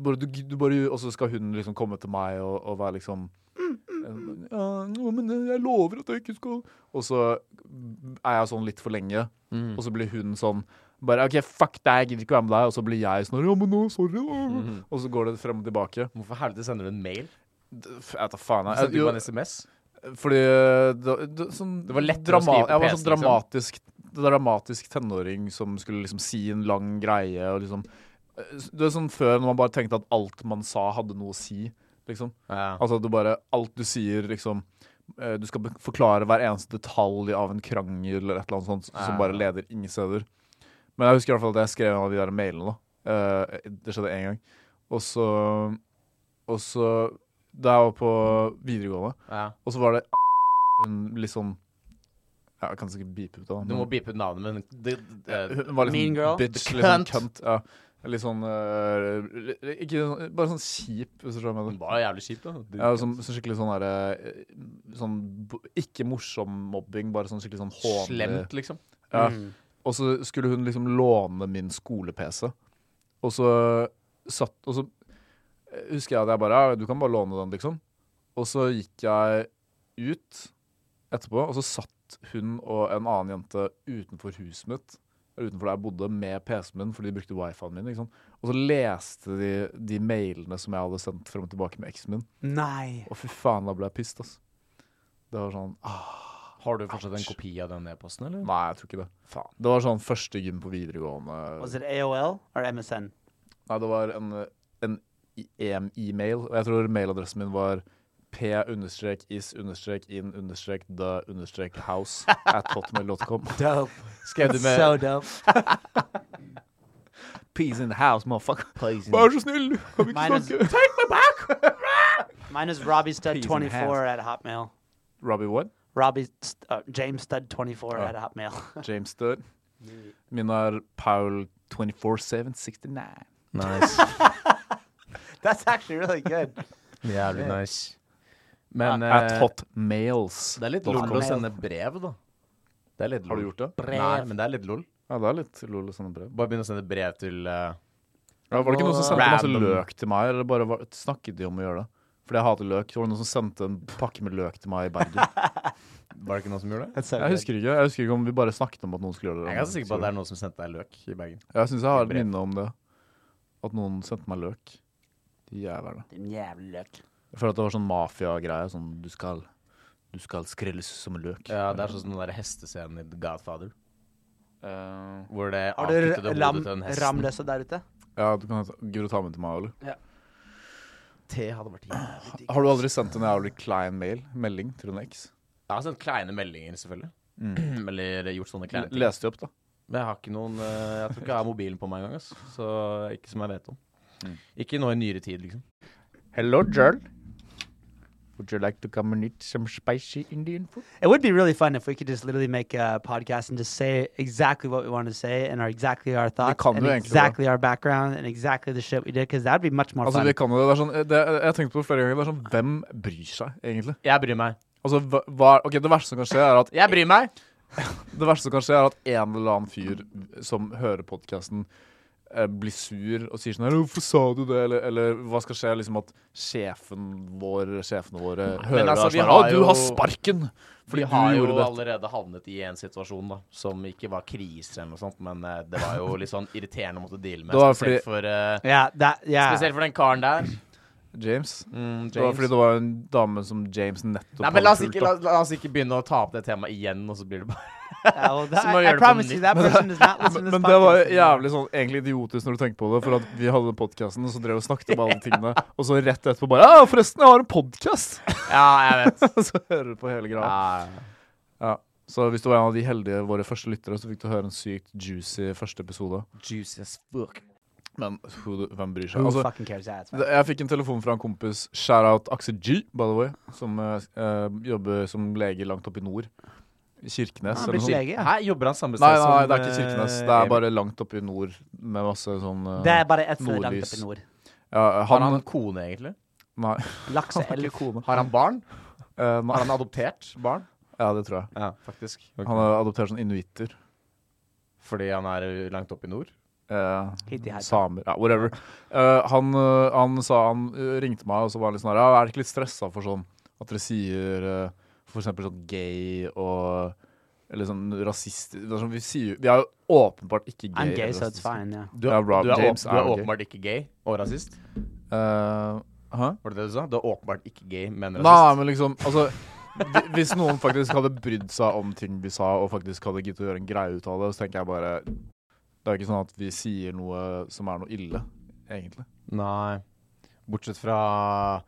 [SPEAKER 1] Bare, du, du bare, og så skal hun liksom komme til meg og, og være liksom ja, jo, men jeg lover at jeg ikke skal Og så er jeg sånn litt for lenge, og så blir hun sånn bare OK, fuck deg, jeg gidder ikke være med deg. Og så blir jeg sånn Ja, men nå, sorry. da. Og så går det frem og tilbake.
[SPEAKER 3] Hvorfor helvete sender du en mail?
[SPEAKER 1] F- Jeg vet da faen.
[SPEAKER 3] Du
[SPEAKER 1] Jeg,
[SPEAKER 3] sender Eh, jo en
[SPEAKER 1] jo,
[SPEAKER 3] SMS.
[SPEAKER 1] fordi det, det, sånn
[SPEAKER 3] Det var lettere å
[SPEAKER 1] drama,
[SPEAKER 3] skrive på
[SPEAKER 1] Jeg var
[SPEAKER 3] PC,
[SPEAKER 1] sånn
[SPEAKER 3] liksom.
[SPEAKER 1] dramatisk, dramatisk tenåring som skulle liksom si en lang greie og liksom Det er sånn før når man bare tenkte at alt man sa, hadde noe å si, liksom.
[SPEAKER 3] Ja.
[SPEAKER 1] Altså at du bare Alt du sier, liksom eh, Du skal be- forklare hver eneste detalj av en krangel eller et eller annet sånt som
[SPEAKER 3] Ja.
[SPEAKER 1] bare leder ingen steder. Men jeg husker i hvert fall at jeg skrev en av de der mailene. da. Eh, Det skjedde én gang. Og så Og så Da jeg var på videregående,
[SPEAKER 3] Ja.
[SPEAKER 1] og så var det hun litt sånn ja, Jeg kan sikkert beepe ut det. da,
[SPEAKER 3] Du må
[SPEAKER 1] men-
[SPEAKER 3] beepe ut navnet, men det, det,
[SPEAKER 1] hun var litt
[SPEAKER 2] Mean
[SPEAKER 1] sånn
[SPEAKER 2] girl.
[SPEAKER 1] bitch,
[SPEAKER 3] Cunt.
[SPEAKER 1] litt sånn cunt. Ja. Litt sånn eh, ikke, sånn- Bare sånn kjip, hvis du skjønner hva jeg mener.
[SPEAKER 3] det var jævlig kjipt, da. Du,
[SPEAKER 1] Ja, som, som skikkelig sånn derre Sånn bo- ikke morsom mobbing, bare sånn skikkelig sånn hånlig
[SPEAKER 3] Slemt, liksom.
[SPEAKER 1] Ja. Og så skulle hun liksom låne min skole-PC, og så satt Og så eh, husker jeg at jeg bare Ja, du kan bare låne den, liksom. Og så gikk jeg ut etterpå, og så satt hun og en annen jente utenfor huset mitt, eller utenfor der jeg bodde, med PC-en min, for de brukte wifi-en min. Ikke sant? Og så leste de de mailene som jeg hadde sendt frem og tilbake med eksen min.
[SPEAKER 2] Nei.
[SPEAKER 1] Og fy faen, da ble jeg pissed, ass. Det var sånn ah,
[SPEAKER 3] Har du fortsatt en kopi av den e-posten, eller?
[SPEAKER 1] Nei, jeg tror ikke det. Faen. Det var sånn første gym på videregående.
[SPEAKER 2] Was it AOL or MSN?
[SPEAKER 1] Nei, det var en, en i- em- e-mail, og jeg tror mailadressen min var p-is-in-the-house at hotmail.com.
[SPEAKER 2] Dope.
[SPEAKER 3] Skrev du med
[SPEAKER 2] So dope.
[SPEAKER 1] Peace in the house, motherfucker.
[SPEAKER 3] Please.
[SPEAKER 1] så snill, kan vi
[SPEAKER 2] Mine is-
[SPEAKER 1] snakke?
[SPEAKER 2] Mine is Robbie Stud
[SPEAKER 1] Peas in
[SPEAKER 2] 24 at Hotmail.
[SPEAKER 1] Robbie Wood,
[SPEAKER 2] Robbie St- uh, James Stud 24
[SPEAKER 1] Ja.
[SPEAKER 2] at Hotmail.
[SPEAKER 1] James Stød. Min er Paul 24-7-69.
[SPEAKER 3] Nice.
[SPEAKER 2] That's actually really good.
[SPEAKER 3] Jævlig nice. Men
[SPEAKER 1] At
[SPEAKER 3] eh,
[SPEAKER 1] hotmails.
[SPEAKER 3] det er litt
[SPEAKER 1] dot
[SPEAKER 3] lol
[SPEAKER 1] com.
[SPEAKER 3] å sende brev, da. Det er litt lol.
[SPEAKER 1] Har du gjort det?
[SPEAKER 3] Brev. Nei, men det er litt lol.
[SPEAKER 1] Ja, det er litt lol å sende brev.
[SPEAKER 3] Bare begynne å sende brev til eh,
[SPEAKER 1] Ja, var det ikke noen som sendte
[SPEAKER 3] Random.
[SPEAKER 1] masse løk til meg, eller bare var, snakket de om å gjøre det? Fordi jeg hater løk. Var det noen som sendte en pakke med løk til meg i Bergen?
[SPEAKER 3] Var det ikke noen som gjorde det?
[SPEAKER 2] That's so
[SPEAKER 1] Jeg husker ikke jeg husker ikke om vi bare snakket om at noen skulle gjøre det.
[SPEAKER 3] Jeg er ganske sikker på at det er noen som sendte deg løk i Bergen.
[SPEAKER 1] Jeg syns jeg har et
[SPEAKER 3] Brev.
[SPEAKER 1] minne om det. At noen sendte meg løk. De jævlene.
[SPEAKER 2] good. Jævlig løk.
[SPEAKER 1] Jeg føler at det var sånn mafiagreie. Sånn du skal, du skal skrelles som en løk.
[SPEAKER 3] Ja, Det er sånn som den der hestescenen i The Godfather.
[SPEAKER 1] Eh,
[SPEAKER 3] Hvor det
[SPEAKER 2] Har dere
[SPEAKER 3] avkuttede
[SPEAKER 2] lam,
[SPEAKER 3] hodet til den hesten.
[SPEAKER 2] ramløse der ute?
[SPEAKER 1] ja, du kan Guro ta med til meg, eller?
[SPEAKER 3] Te hadde vært jævlig digg.
[SPEAKER 1] Har du aldri sendt en jævlig klein mail? Melding til en eks?
[SPEAKER 3] Jeg har sendt kleine meldinger, selvfølgelig.
[SPEAKER 1] Mm.
[SPEAKER 3] Eller gjort sånne kleine ting.
[SPEAKER 1] Leste de opp, da?
[SPEAKER 3] Men jeg har ikke noen eh, Jeg tror ikke jeg har mobilen på meg engang. ass. Så ikke som jeg vet om.
[SPEAKER 1] Mm.
[SPEAKER 3] Ikke nå i nyere tid, liksom.
[SPEAKER 1] Hello, Joel. Would you like to come and eat some spicy Indian food?
[SPEAKER 2] It would be really fun if we could just literally make a podcast and just say exactly what we want to say and our exactly our thoughts
[SPEAKER 1] kan
[SPEAKER 2] and
[SPEAKER 1] du egentlig,
[SPEAKER 2] exactly our background and exactly the shit we did because that'd be much more
[SPEAKER 1] Altså,
[SPEAKER 2] fun.
[SPEAKER 1] vi kan jo, det er sånn, det, jeg har tenkt på det flere ganger, det er sånn, hvem bryr seg, egentlig?
[SPEAKER 3] Jeg bryr meg.
[SPEAKER 1] Altså, hva, hva- ok, det verste som kan skje er at,
[SPEAKER 3] Jeg bryr meg!
[SPEAKER 1] det verste som kan skje er at en eller annen fyr som hører podcasten eh, blir sur og sier sånn, her, hvorfor sa du det? Eller, eller hva skal skje, liksom at sjefen vår, sjefene våre hører
[SPEAKER 3] altså,
[SPEAKER 1] det,
[SPEAKER 3] vi
[SPEAKER 1] er sånn,
[SPEAKER 3] har
[SPEAKER 1] «Å, du har
[SPEAKER 3] jo-
[SPEAKER 1] sparken!
[SPEAKER 3] Fordi
[SPEAKER 1] Fordi du
[SPEAKER 3] har jo
[SPEAKER 1] gjorde det.
[SPEAKER 3] allerede havnet i en situasjon da som ikke var krise eller noe sånt, men eh, det var jo litt sånn irriterende å måtte deale med.
[SPEAKER 1] Det var
[SPEAKER 3] Spesielt
[SPEAKER 1] fordi-
[SPEAKER 3] for, eh,
[SPEAKER 2] yeah, that yeah.
[SPEAKER 3] spesielt for den karen der.
[SPEAKER 1] James.
[SPEAKER 3] Mm,
[SPEAKER 1] Det var
[SPEAKER 3] James.
[SPEAKER 1] fordi det var en dame som James nettopp
[SPEAKER 3] Nei, men la oss,
[SPEAKER 1] hadde
[SPEAKER 3] ikke,
[SPEAKER 1] fulgt
[SPEAKER 3] la,
[SPEAKER 1] opp.
[SPEAKER 3] la oss ikke begynne å ta opp det temaet igjen, og så blir det bare
[SPEAKER 2] Yeah, well, that,
[SPEAKER 3] må
[SPEAKER 2] I,
[SPEAKER 3] gjøre
[SPEAKER 2] I
[SPEAKER 3] det på
[SPEAKER 2] promise you
[SPEAKER 3] nytt.
[SPEAKER 2] that person does not listen to this
[SPEAKER 1] Men det var
[SPEAKER 2] podcast anymore.
[SPEAKER 1] jævlig sånn, egentlig idiotisk når du tenker på det, for at vi hadde den podkasten, og så drev vi og snakket om alle tingene, og så rett etterpå bare Ja, forresten, jeg har en podkast!
[SPEAKER 3] Ja, jeg vet.
[SPEAKER 1] Og så hører du på hele greia. Ja. Så hvis du var en av de heldige våre første lyttere, så fikk du høre en sykt juicy første episode.
[SPEAKER 3] Juicy as fuck.
[SPEAKER 1] Men who, the- hvem bryr seg?
[SPEAKER 2] Who
[SPEAKER 1] Altså,
[SPEAKER 2] fucking cares? Yeah, it's fine.
[SPEAKER 1] det- jeg fikk en telefon fra en kompis, shout-out Aksel G, by the way, som eh, eh, jobber som lege langt oppe i nord. I Kirkenes.
[SPEAKER 2] Han
[SPEAKER 1] eller
[SPEAKER 2] blir
[SPEAKER 1] noe sånt.
[SPEAKER 2] lege, ja.
[SPEAKER 3] Her jobber han samme sted
[SPEAKER 1] Nei, nei, det er ikke
[SPEAKER 3] eh,
[SPEAKER 1] Kirkenes. Det er
[SPEAKER 3] Emil.
[SPEAKER 1] bare langt oppe i nord med masse sånn eh,
[SPEAKER 2] Det er bare ett sted langt
[SPEAKER 1] nordlys.
[SPEAKER 2] opp i nord.
[SPEAKER 1] ja,
[SPEAKER 3] Har
[SPEAKER 1] han,
[SPEAKER 3] han kone, egentlig?
[SPEAKER 1] Nei.
[SPEAKER 2] Lakseelv.
[SPEAKER 1] kone.
[SPEAKER 3] Har han barn?
[SPEAKER 1] Eh, nei.
[SPEAKER 3] Er han adoptert barn?
[SPEAKER 1] Ja, det tror jeg.
[SPEAKER 3] Ja, faktisk. Ok.
[SPEAKER 1] Han er adoptert sånn inuitter.
[SPEAKER 3] Fordi han er eh, langt opp i nord?
[SPEAKER 1] Eh,
[SPEAKER 2] Hitti her.
[SPEAKER 1] Samer, ja, whatever. Eh, han, eh, han sa han eh, ringte meg og så var han litt sånn her ja, Er dere ikke litt stressa for sånn at dere sier eh, for eksempel sånn gay og Eller sånn rasist det er sånn, vi, sier, jo- vi er jo åpenbart ikke gay.
[SPEAKER 2] I'm gay,
[SPEAKER 1] eller
[SPEAKER 2] so it's
[SPEAKER 1] rasistiske.
[SPEAKER 2] fine. Yeah.
[SPEAKER 3] Du
[SPEAKER 1] Ja, bra.
[SPEAKER 3] du er,
[SPEAKER 1] James
[SPEAKER 3] åp- du
[SPEAKER 1] er
[SPEAKER 3] er
[SPEAKER 1] gay.
[SPEAKER 3] åpenbart ikke gay og rasist?
[SPEAKER 1] Eh, hæ?
[SPEAKER 3] Var det det du sa? Du er åpenbart ikke gay, men
[SPEAKER 1] Nei,
[SPEAKER 3] rasist?
[SPEAKER 1] men liksom altså, hvi- Hvis noen faktisk hadde brydd seg om ting vi sa, og faktisk hadde giddet å gjøre en greie ut av det, så tenker jeg bare Det er ikke sånn at vi sier noe som er noe ille, egentlig.
[SPEAKER 3] Nei. Bortsett fra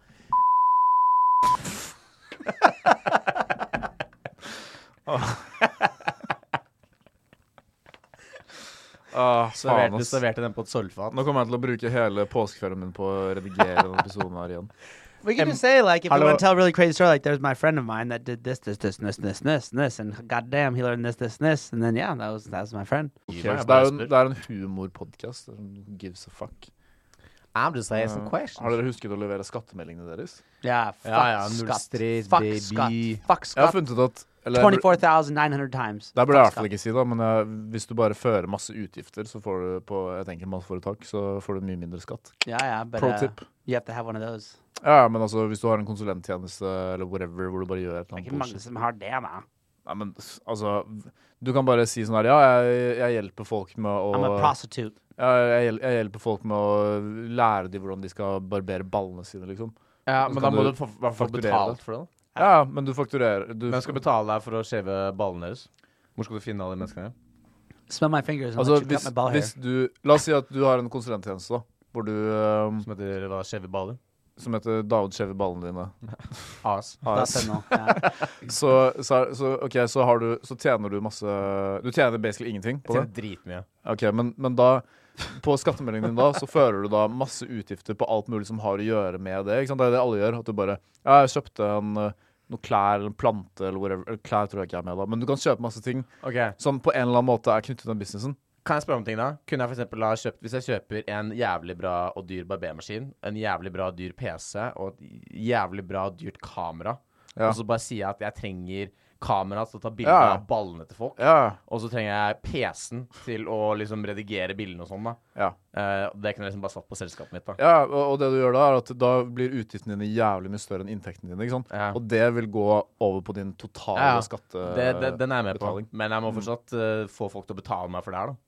[SPEAKER 1] Ah,
[SPEAKER 3] Serverte, serverte den på et sølvfat.
[SPEAKER 1] Nå kommer jeg til å bruke hele påskeferien min på å redigere denne episoden her igjen.
[SPEAKER 2] We can
[SPEAKER 3] Um,
[SPEAKER 2] just say like if you
[SPEAKER 3] hello.
[SPEAKER 2] want to tell a really crazy story, like there's my friend of mine that did this, this, this, and this, and this, and this, and this, and goddamn, he learned this, this, and this, and then yeah, that was that was my friend.
[SPEAKER 1] Ok, så det er jo en, det er en humorpodkast. det er sånn Gives a fuck.
[SPEAKER 3] I'm just
[SPEAKER 1] Eh, Har dere husket å levere skattemeldingene deres?
[SPEAKER 2] Yeah, fuck
[SPEAKER 3] yeah, I'm
[SPEAKER 2] Scott,
[SPEAKER 3] straight,
[SPEAKER 2] fuck
[SPEAKER 3] baby.
[SPEAKER 2] Scott, fuck
[SPEAKER 1] Jeg har
[SPEAKER 2] Scott,
[SPEAKER 1] funnet ut at eller, jeg bur-
[SPEAKER 2] twenty-four thousand nine hundred times.
[SPEAKER 1] Det burde jeg i hvert fall
[SPEAKER 2] Fuck
[SPEAKER 1] ikke si, da, men jeg, hvis du bare fører masse utgifter så får du på et enkeltmannsforetak, så får du mye mindre skatt.
[SPEAKER 2] Scott. Yeah, yeah, but
[SPEAKER 1] Pro
[SPEAKER 2] uh,
[SPEAKER 1] tip.
[SPEAKER 2] you have to have one of those.
[SPEAKER 1] Ja, men altså, hvis du har en konsulenttjeneste eller whatever, hvor du bare gjør et
[SPEAKER 2] Det er
[SPEAKER 1] eller
[SPEAKER 2] ikke
[SPEAKER 1] annet
[SPEAKER 2] mange
[SPEAKER 1] bullshit
[SPEAKER 2] som har det, da.
[SPEAKER 1] Nei, men altså Du kan bare si sånn her Ja, jeg, jeg hjelper folk med å
[SPEAKER 2] I'm a prostitute.
[SPEAKER 1] Ja, jeg, hjel- jeg hjelper folk med å lære dem hvordan de skal barbere ballene sine, liksom.
[SPEAKER 3] Ja,
[SPEAKER 1] Så
[SPEAKER 3] men
[SPEAKER 1] kan
[SPEAKER 3] da må
[SPEAKER 1] du
[SPEAKER 3] du få- i hvert fall
[SPEAKER 1] fakturere
[SPEAKER 3] betale
[SPEAKER 1] det.
[SPEAKER 3] for det. da.
[SPEAKER 1] Ja, men du fakturerer du,
[SPEAKER 3] Hvem skal betale deg for å skjeve ballene deres? Hvor skal du finne alle de menneskene?
[SPEAKER 2] Smell my fingers and
[SPEAKER 1] Altså,
[SPEAKER 2] let you cut
[SPEAKER 1] hvis,
[SPEAKER 2] my ball hair.
[SPEAKER 1] hvis du La oss si at du har en konsulenttjeneste, da. Hvor du ehm,
[SPEAKER 3] Som heter hva, skjeve baller?
[SPEAKER 1] Som heter David skjever ballene dine.
[SPEAKER 3] AS.
[SPEAKER 2] That's
[SPEAKER 1] AS.
[SPEAKER 2] it, no. Yeah.
[SPEAKER 1] Så, så, er- så, ok, så, har du, så tjener du masse Du tjener basically ingenting
[SPEAKER 3] Jeg
[SPEAKER 1] på
[SPEAKER 3] tjener
[SPEAKER 1] det.
[SPEAKER 3] dritmye.
[SPEAKER 1] Ok, men, men da På skattemeldingen din da Så fører du da masse utgifter på alt mulig som har å gjøre med det. Ikke sant? Det er det alle gjør. At du bare Ja, jeg kjøpte en eh, noen klær eller en plante eller whatever. Eller Klær tror jeg ikke er med, da. Men du kan kjøpe masse ting
[SPEAKER 3] Ok,
[SPEAKER 1] som på en eller annen måte er knyttet til den businessen.
[SPEAKER 3] Kan jeg spørre om ting, da? Kunne jeg for eksempel ha kjøpt Hvis jeg kjøper en jævlig bra og dyr barbermaskin, en jævlig bra og dyr PC og et jævlig bra og dyrt kamera,
[SPEAKER 1] Ja.
[SPEAKER 3] og så bare sier jeg at jeg trenger kamera til å ta bilder
[SPEAKER 1] Ja.
[SPEAKER 3] av ballene til folk,
[SPEAKER 1] Ja.
[SPEAKER 3] og så trenger jeg PC-en til å liksom redigere bildene og sånn, da.
[SPEAKER 1] Ja.
[SPEAKER 3] Eh, det kunne jeg liksom bare satt på selskapet mitt, da.
[SPEAKER 1] Ja, og og det du gjør da, er at da blir utgiftene dine jævlig mye større enn inntektene dine. ikke sant?
[SPEAKER 3] Ja.
[SPEAKER 1] Og det vil gå over på din totale
[SPEAKER 3] Ja, ja.
[SPEAKER 1] skatte...
[SPEAKER 3] Det, det, den er jeg med
[SPEAKER 1] betaling.
[SPEAKER 3] på. Men jeg må
[SPEAKER 2] Mm.
[SPEAKER 3] fortsatt eh, få folk til å betale meg for det her, da.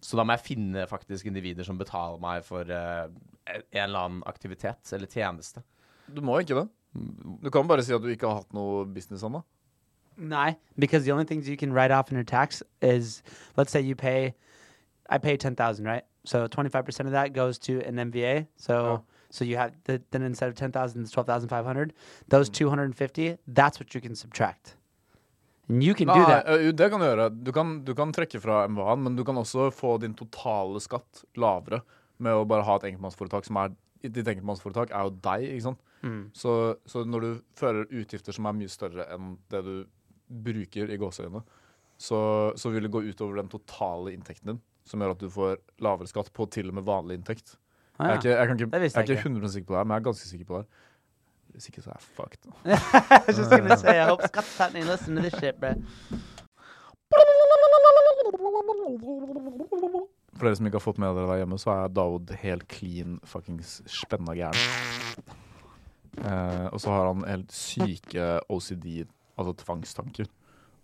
[SPEAKER 3] Så da må jeg finne faktisk individer som betaler meg for eh, en eller annen aktivitet eller tjeneste.
[SPEAKER 1] Du må jo ikke det. Du kan bare si at du ikke har hatt noe business ennå.
[SPEAKER 2] Nah, because the only things you can write off in your tax is, let's say you pay, I pay ten thousand, right? So twenty five percent of that goes to an MVA. So so you have the, then instead of ten thousand, it's twelve thousand five hundred. Those two hundred and fifty, that's what you can subtract, and you can do
[SPEAKER 1] Nei,
[SPEAKER 2] that.
[SPEAKER 1] ø, jo, det kan du gjøre. Du kan, du kan trekke fra MVA-en, men du kan også få din totale skatt lavere med å bare ha et enkeltmannsforetak som er Ditt enkeltmannsforetak er jo deg, ikke sant. Så, så når du fører utgifter som er mye større enn det du bruker i gåseøynene, så, så vil det gå utover den totale inntekten din, som gjør at du får lavere skatt på til og med vanlig inntekt.
[SPEAKER 2] Ah, ja.
[SPEAKER 1] Jeg er ikke, jeg kan ikke,
[SPEAKER 2] Det
[SPEAKER 1] jeg
[SPEAKER 2] visste
[SPEAKER 1] er
[SPEAKER 2] jeg
[SPEAKER 1] ikke 100 sikker på det her, men jeg er ganske sikker på det her. Hvis ikke, så er jeg fucked.
[SPEAKER 2] I was just gonna say, I hope Scott's not and listen to this shit, bro.
[SPEAKER 1] For dere som ikke har fått med dere der hjemme, så er Daoud helt clean fuckings spenna gæren. Eh, og så har han helt syke OCD, altså tvangstanker.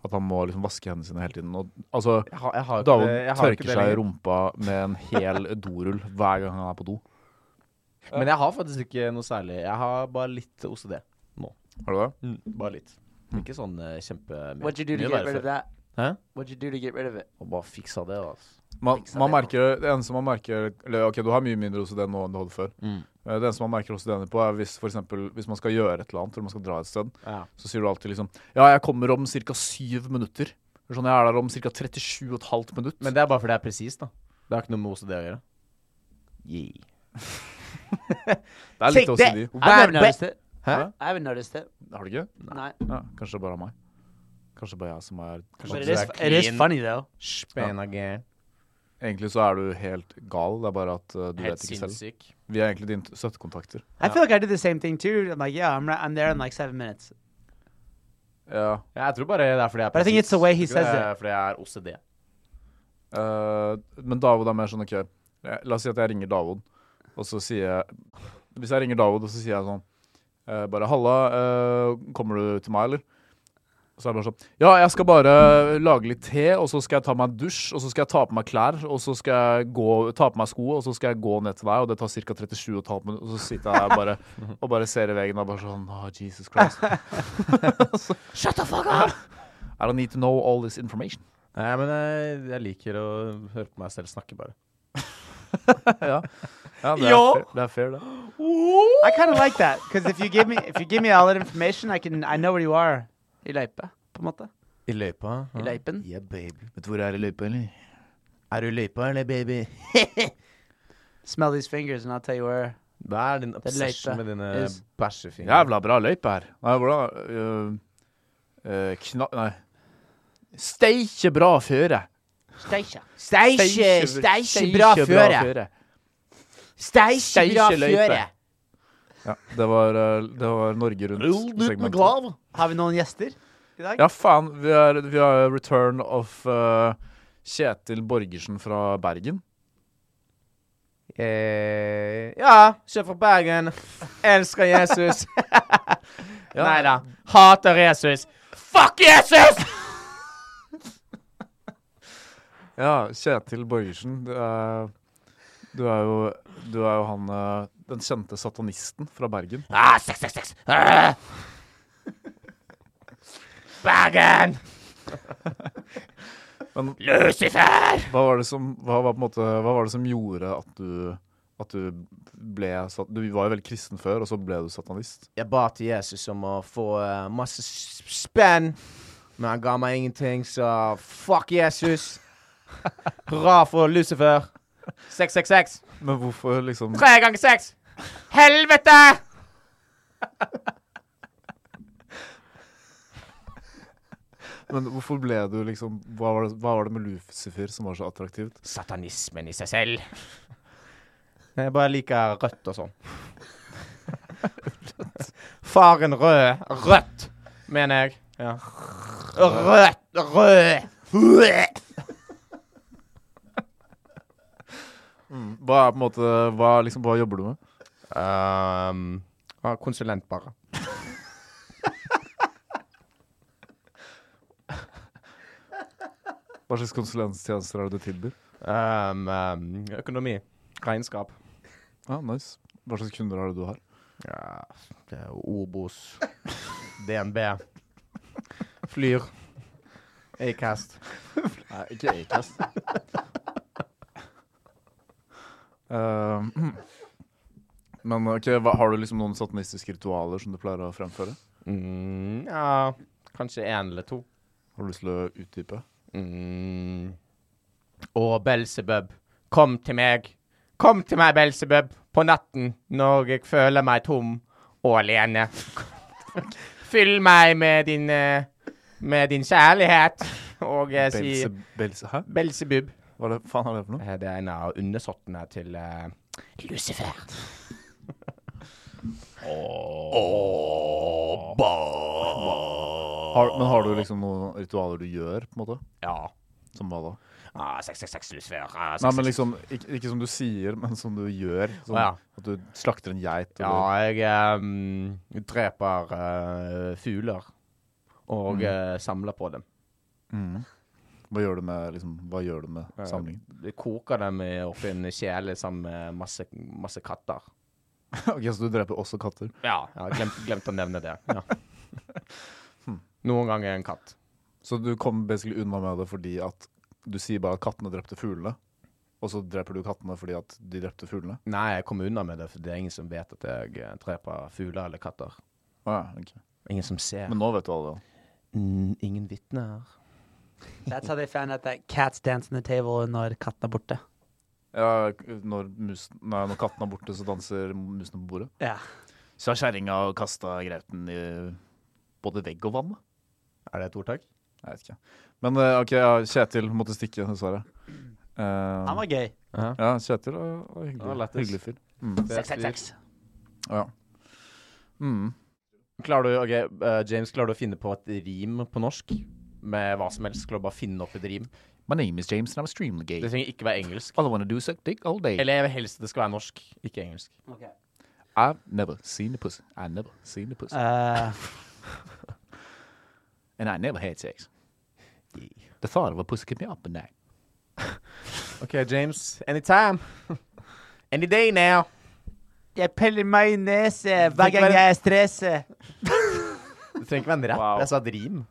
[SPEAKER 1] At han må liksom vaske hendene sine hele tiden. Og, altså,
[SPEAKER 3] Jeg har, jeg har ikke
[SPEAKER 1] Daoud
[SPEAKER 3] det- jeg har ikke
[SPEAKER 1] tørker
[SPEAKER 3] det
[SPEAKER 1] seg i
[SPEAKER 3] lenger.
[SPEAKER 1] rumpa med en hel dorull hver gang han er på do.
[SPEAKER 3] Men jeg har faktisk ikke noe særlig. Jeg har bare litt OCD.
[SPEAKER 1] Har du det?
[SPEAKER 3] Bare litt. Ikke sånn uh, kjempemye.
[SPEAKER 2] What'd you do to
[SPEAKER 3] Mye
[SPEAKER 2] get
[SPEAKER 3] verre
[SPEAKER 2] rid of
[SPEAKER 3] før.
[SPEAKER 2] that?
[SPEAKER 3] Hæ?
[SPEAKER 2] What'd you do to get rid of it?
[SPEAKER 3] Og bare fiksa det, da, altså.
[SPEAKER 1] Man,
[SPEAKER 2] Fiksa
[SPEAKER 1] man
[SPEAKER 2] det,
[SPEAKER 1] merker, det eneste man merker Eller ok, du har mye mindre OCD nå enn du hadde før.
[SPEAKER 3] Mm.
[SPEAKER 1] Eh, Det eneste man merker OCD-ene på, er hvis for eksempel, hvis man skal gjøre et eller annet, eller man skal dra et sted,
[SPEAKER 3] Ja.
[SPEAKER 1] så sier du alltid liksom Ja, jeg kommer om ca. syv minutter. Eller Sånn, jeg er der om ca. 37 og et halvt minutt.
[SPEAKER 3] Men det er bare fordi det er presist, da. Det har ikke noe med OCD å gjøre. Yeah.
[SPEAKER 1] det er litt
[SPEAKER 3] Take
[SPEAKER 1] OCD.
[SPEAKER 3] that!
[SPEAKER 2] I haven't noticed it.
[SPEAKER 3] Hæ?
[SPEAKER 2] I haven't noticed it.
[SPEAKER 1] Har du ikke?
[SPEAKER 2] Not.
[SPEAKER 1] Ja, kanskje det bare er meg. Kanskje bare jeg som er
[SPEAKER 2] But
[SPEAKER 1] kanskje
[SPEAKER 2] it
[SPEAKER 3] du
[SPEAKER 2] is,
[SPEAKER 3] er
[SPEAKER 2] it is
[SPEAKER 3] clean.
[SPEAKER 2] funny though.
[SPEAKER 3] Spenagæren.
[SPEAKER 1] Egentlig så er du helt gal, det er bare at eh,
[SPEAKER 6] Helt
[SPEAKER 1] du vet ikke selv.
[SPEAKER 6] sinnssyk.
[SPEAKER 1] Vi er egentlig dine støttekontakter.
[SPEAKER 2] I feel like I did the same thing too. I'm like, yeah, I'm right, I'm there in like seven minutes.
[SPEAKER 1] Ja.
[SPEAKER 6] Ja, jeg tror bare det er fordi jeg er
[SPEAKER 2] But I think
[SPEAKER 6] presis.
[SPEAKER 2] it's the way he
[SPEAKER 6] Jeg tror ikke
[SPEAKER 2] says
[SPEAKER 6] det er Fordi jeg er OCD.
[SPEAKER 1] Eh, men Davod er mer sånn OK, eh, la oss si at jeg ringer Davod, og så sier jeg Hvis jeg ringer Davod, og så sier jeg sånn eh, Bare 'Halla, eh, kommer du til meg, eller?' Så er det bare sånn 'Ja, jeg skal bare lage litt te, og så skal jeg ta meg en dusj, og så skal jeg ta på meg klær, og så skal jeg gå, ta på meg sko, og så skal jeg gå ned til deg, og det tar ca. 37,5 minutter, og så sitter jeg der bare, og bare ser i veggen og bare sånn Å, Jesus Christ. Shut the fuck up! I don't need to know all this information.
[SPEAKER 6] Nei, men jeg, jeg liker å høre på meg selv snakke, bare.
[SPEAKER 1] ja. ja, det er
[SPEAKER 6] Ja.
[SPEAKER 1] fair, det. Er fair, det.
[SPEAKER 2] I kind of like that because if you give me if you give me all that information, I can I know where you are. I løypa, på en måte.
[SPEAKER 6] I løypa?
[SPEAKER 2] I løypen.
[SPEAKER 6] Yeah, baby.
[SPEAKER 1] Vet du hvor jeg er i løypa, eller?
[SPEAKER 6] Er du i løypa, eller, baby?
[SPEAKER 2] Smell these fingers, and I'll tell you where.
[SPEAKER 6] Det er din obsession
[SPEAKER 2] løype.
[SPEAKER 6] med dine
[SPEAKER 2] Yes.
[SPEAKER 6] bæsjefingre.
[SPEAKER 1] Jævla bra løype her. Nei, hvordan øh, øh, Kna... Nei. Steikje bra føre.
[SPEAKER 2] Stacia.
[SPEAKER 3] Steikje, steikje bra føre. Steikje bra
[SPEAKER 1] Steikje løype.
[SPEAKER 3] føre.
[SPEAKER 1] Ja, det var, øh, det var Norge rundt-segmentet.
[SPEAKER 2] Har vi noen gjester i dag?
[SPEAKER 1] Ja, faen. Vi har vi har return of øh, Kjetil Borgersen fra Bergen.
[SPEAKER 3] Eh, ja, kjøp fra Bergen. Elsker Jesus. Nei da. Hater Jesus. Fuck Jesus!
[SPEAKER 1] Ja, Kjetil Borgersen. Du er, du er jo, du er jo han øh, den kjente satanisten fra Bergen.
[SPEAKER 3] Ah, sex, sex, sex. Ah. Bergen!
[SPEAKER 1] Men-
[SPEAKER 3] Lucifer!
[SPEAKER 1] Hva var det som, hva var på en måte, hva var det som gjorde at du, at du ble sat- Du var jo veldig kristen før, og så ble du satanist.
[SPEAKER 3] Jeg ba til Jesus om å få eh, masse s- spenn, men han ga meg ingenting, så fuck Jesus. Hurra for Lucifer. 666.
[SPEAKER 1] Men hvorfor liksom
[SPEAKER 3] Tre ganger seks. Helvete!
[SPEAKER 1] Men hvorfor ble du liksom Hva var det, hva var det med Lucifer som var så attraktivt?
[SPEAKER 3] Satanismen i seg selv. Jeg bare liker rødt og sånn. Faren rød. Rødt, mener jeg. Ja. Rødt, rød. rød.
[SPEAKER 1] Hva er på en måte Hva, liksom, hva jobber du med?
[SPEAKER 3] Um, ah, konsulent, bare.
[SPEAKER 1] Hva slags konsulenttjenester er det du tilbyr?
[SPEAKER 3] Um, um, økonomi. Regnskap.
[SPEAKER 1] Ja, nice. Hva slags kunder er det du har?
[SPEAKER 3] Ja, det er Obos. DNB. Flyr. Acast.
[SPEAKER 1] Nei, ikke Acast. Eh, men ok, hva, har du liksom noen satanistiske ritualer som du pleier å fremføre?
[SPEAKER 3] Mm, ja, kanskje én eller to.
[SPEAKER 1] Har du lyst til å utdype?
[SPEAKER 3] Mm. Å, Belsebub, kom til meg. Kom til meg, Belsebub, på natten når jeg føler meg tom og alene. Fyll meg med din, eh, med din kjærlighet, og jeg sier
[SPEAKER 1] Belse, Belse, hæ?
[SPEAKER 3] Belsebub.
[SPEAKER 1] Hva er det, faen er det for noe?
[SPEAKER 3] Eh, Det er en av undersåttene til eh, Lucifer.
[SPEAKER 1] Har, men har du liksom noen ritualer du gjør, på en måte?
[SPEAKER 3] Ja.
[SPEAKER 1] Som hva da?
[SPEAKER 3] Ah, 666 Lucifer. Ah,
[SPEAKER 1] Nei, men liksom, ikke, ikke som du sier, men som du gjør. Som,
[SPEAKER 3] Å,
[SPEAKER 1] At du slakter en geit.
[SPEAKER 3] Ja,
[SPEAKER 1] Eller,
[SPEAKER 3] jeg em, dreper eh, fugler og eh, samler på dem.
[SPEAKER 1] Mhm. Hva gjør du med, liksom, hva gjør du med samlingen?
[SPEAKER 3] Jeg koker dem i- oppi en kjele sammen med masse, masse katter.
[SPEAKER 1] ok, Så du dreper også katter?
[SPEAKER 3] Ja, jeg har glemt, glemt å nevne det. Ja.
[SPEAKER 1] Hm.
[SPEAKER 3] Noen ganger en katt.
[SPEAKER 1] Så du kom basically unna med det fordi at du sier bare at kattene drepte fuglene, og så dreper du kattene fordi at de drepte fuglene?
[SPEAKER 3] Nei, jeg kommer unna med det, for det er ingen som vet at jeg eh, dreper fugler eller katter.
[SPEAKER 1] Å Ah, ja, ok.
[SPEAKER 3] Ingen som ser.
[SPEAKER 1] Men nå vet du alle det.
[SPEAKER 3] Mm, ingen vitner.
[SPEAKER 2] That's how they found out that cats dance on the table når katten er borte.
[SPEAKER 1] Ja, når, mus, nei, når katten er borte, så danser musene på bordet?
[SPEAKER 2] Ja.
[SPEAKER 1] Så har kjerringa kasta grauten i både vegg og vann.
[SPEAKER 3] Er det et ordtak?
[SPEAKER 1] Jeg vet ikke. Men eh, OK, ja, Kjetil måtte stikke, dessverre. Eh,
[SPEAKER 2] Han var gøy.
[SPEAKER 1] ja, Kjetil var, var hyggelig,
[SPEAKER 3] Han var lættis.
[SPEAKER 1] hyggelig fyr. Mm.
[SPEAKER 2] Seks, seks, seks.
[SPEAKER 1] Ja. Mm.
[SPEAKER 3] Klarer du, ok, eh, James, klarer du å finne på et rim på norsk? Med hva som helst. Klarer du bare å finne opp et rim?
[SPEAKER 1] My name is James and I'm extremely gay.
[SPEAKER 3] Det trenger ikke være engelsk.
[SPEAKER 1] All I wanna do is suck dick all day.
[SPEAKER 3] Eller jeg vil helst at det skal være norsk, ikke engelsk.
[SPEAKER 1] I've never seen a pussy. I've never seen a pussy.
[SPEAKER 2] Eh,
[SPEAKER 1] And I never had sex. The thought of a pussy kept me up at night.
[SPEAKER 3] OK, James. Anytime. Any day now.
[SPEAKER 2] jeg peller majonese hver gang jeg er stresset.
[SPEAKER 3] Det trenger ikke være en rapp.
[SPEAKER 1] Wow.
[SPEAKER 3] Jeg sa et rim.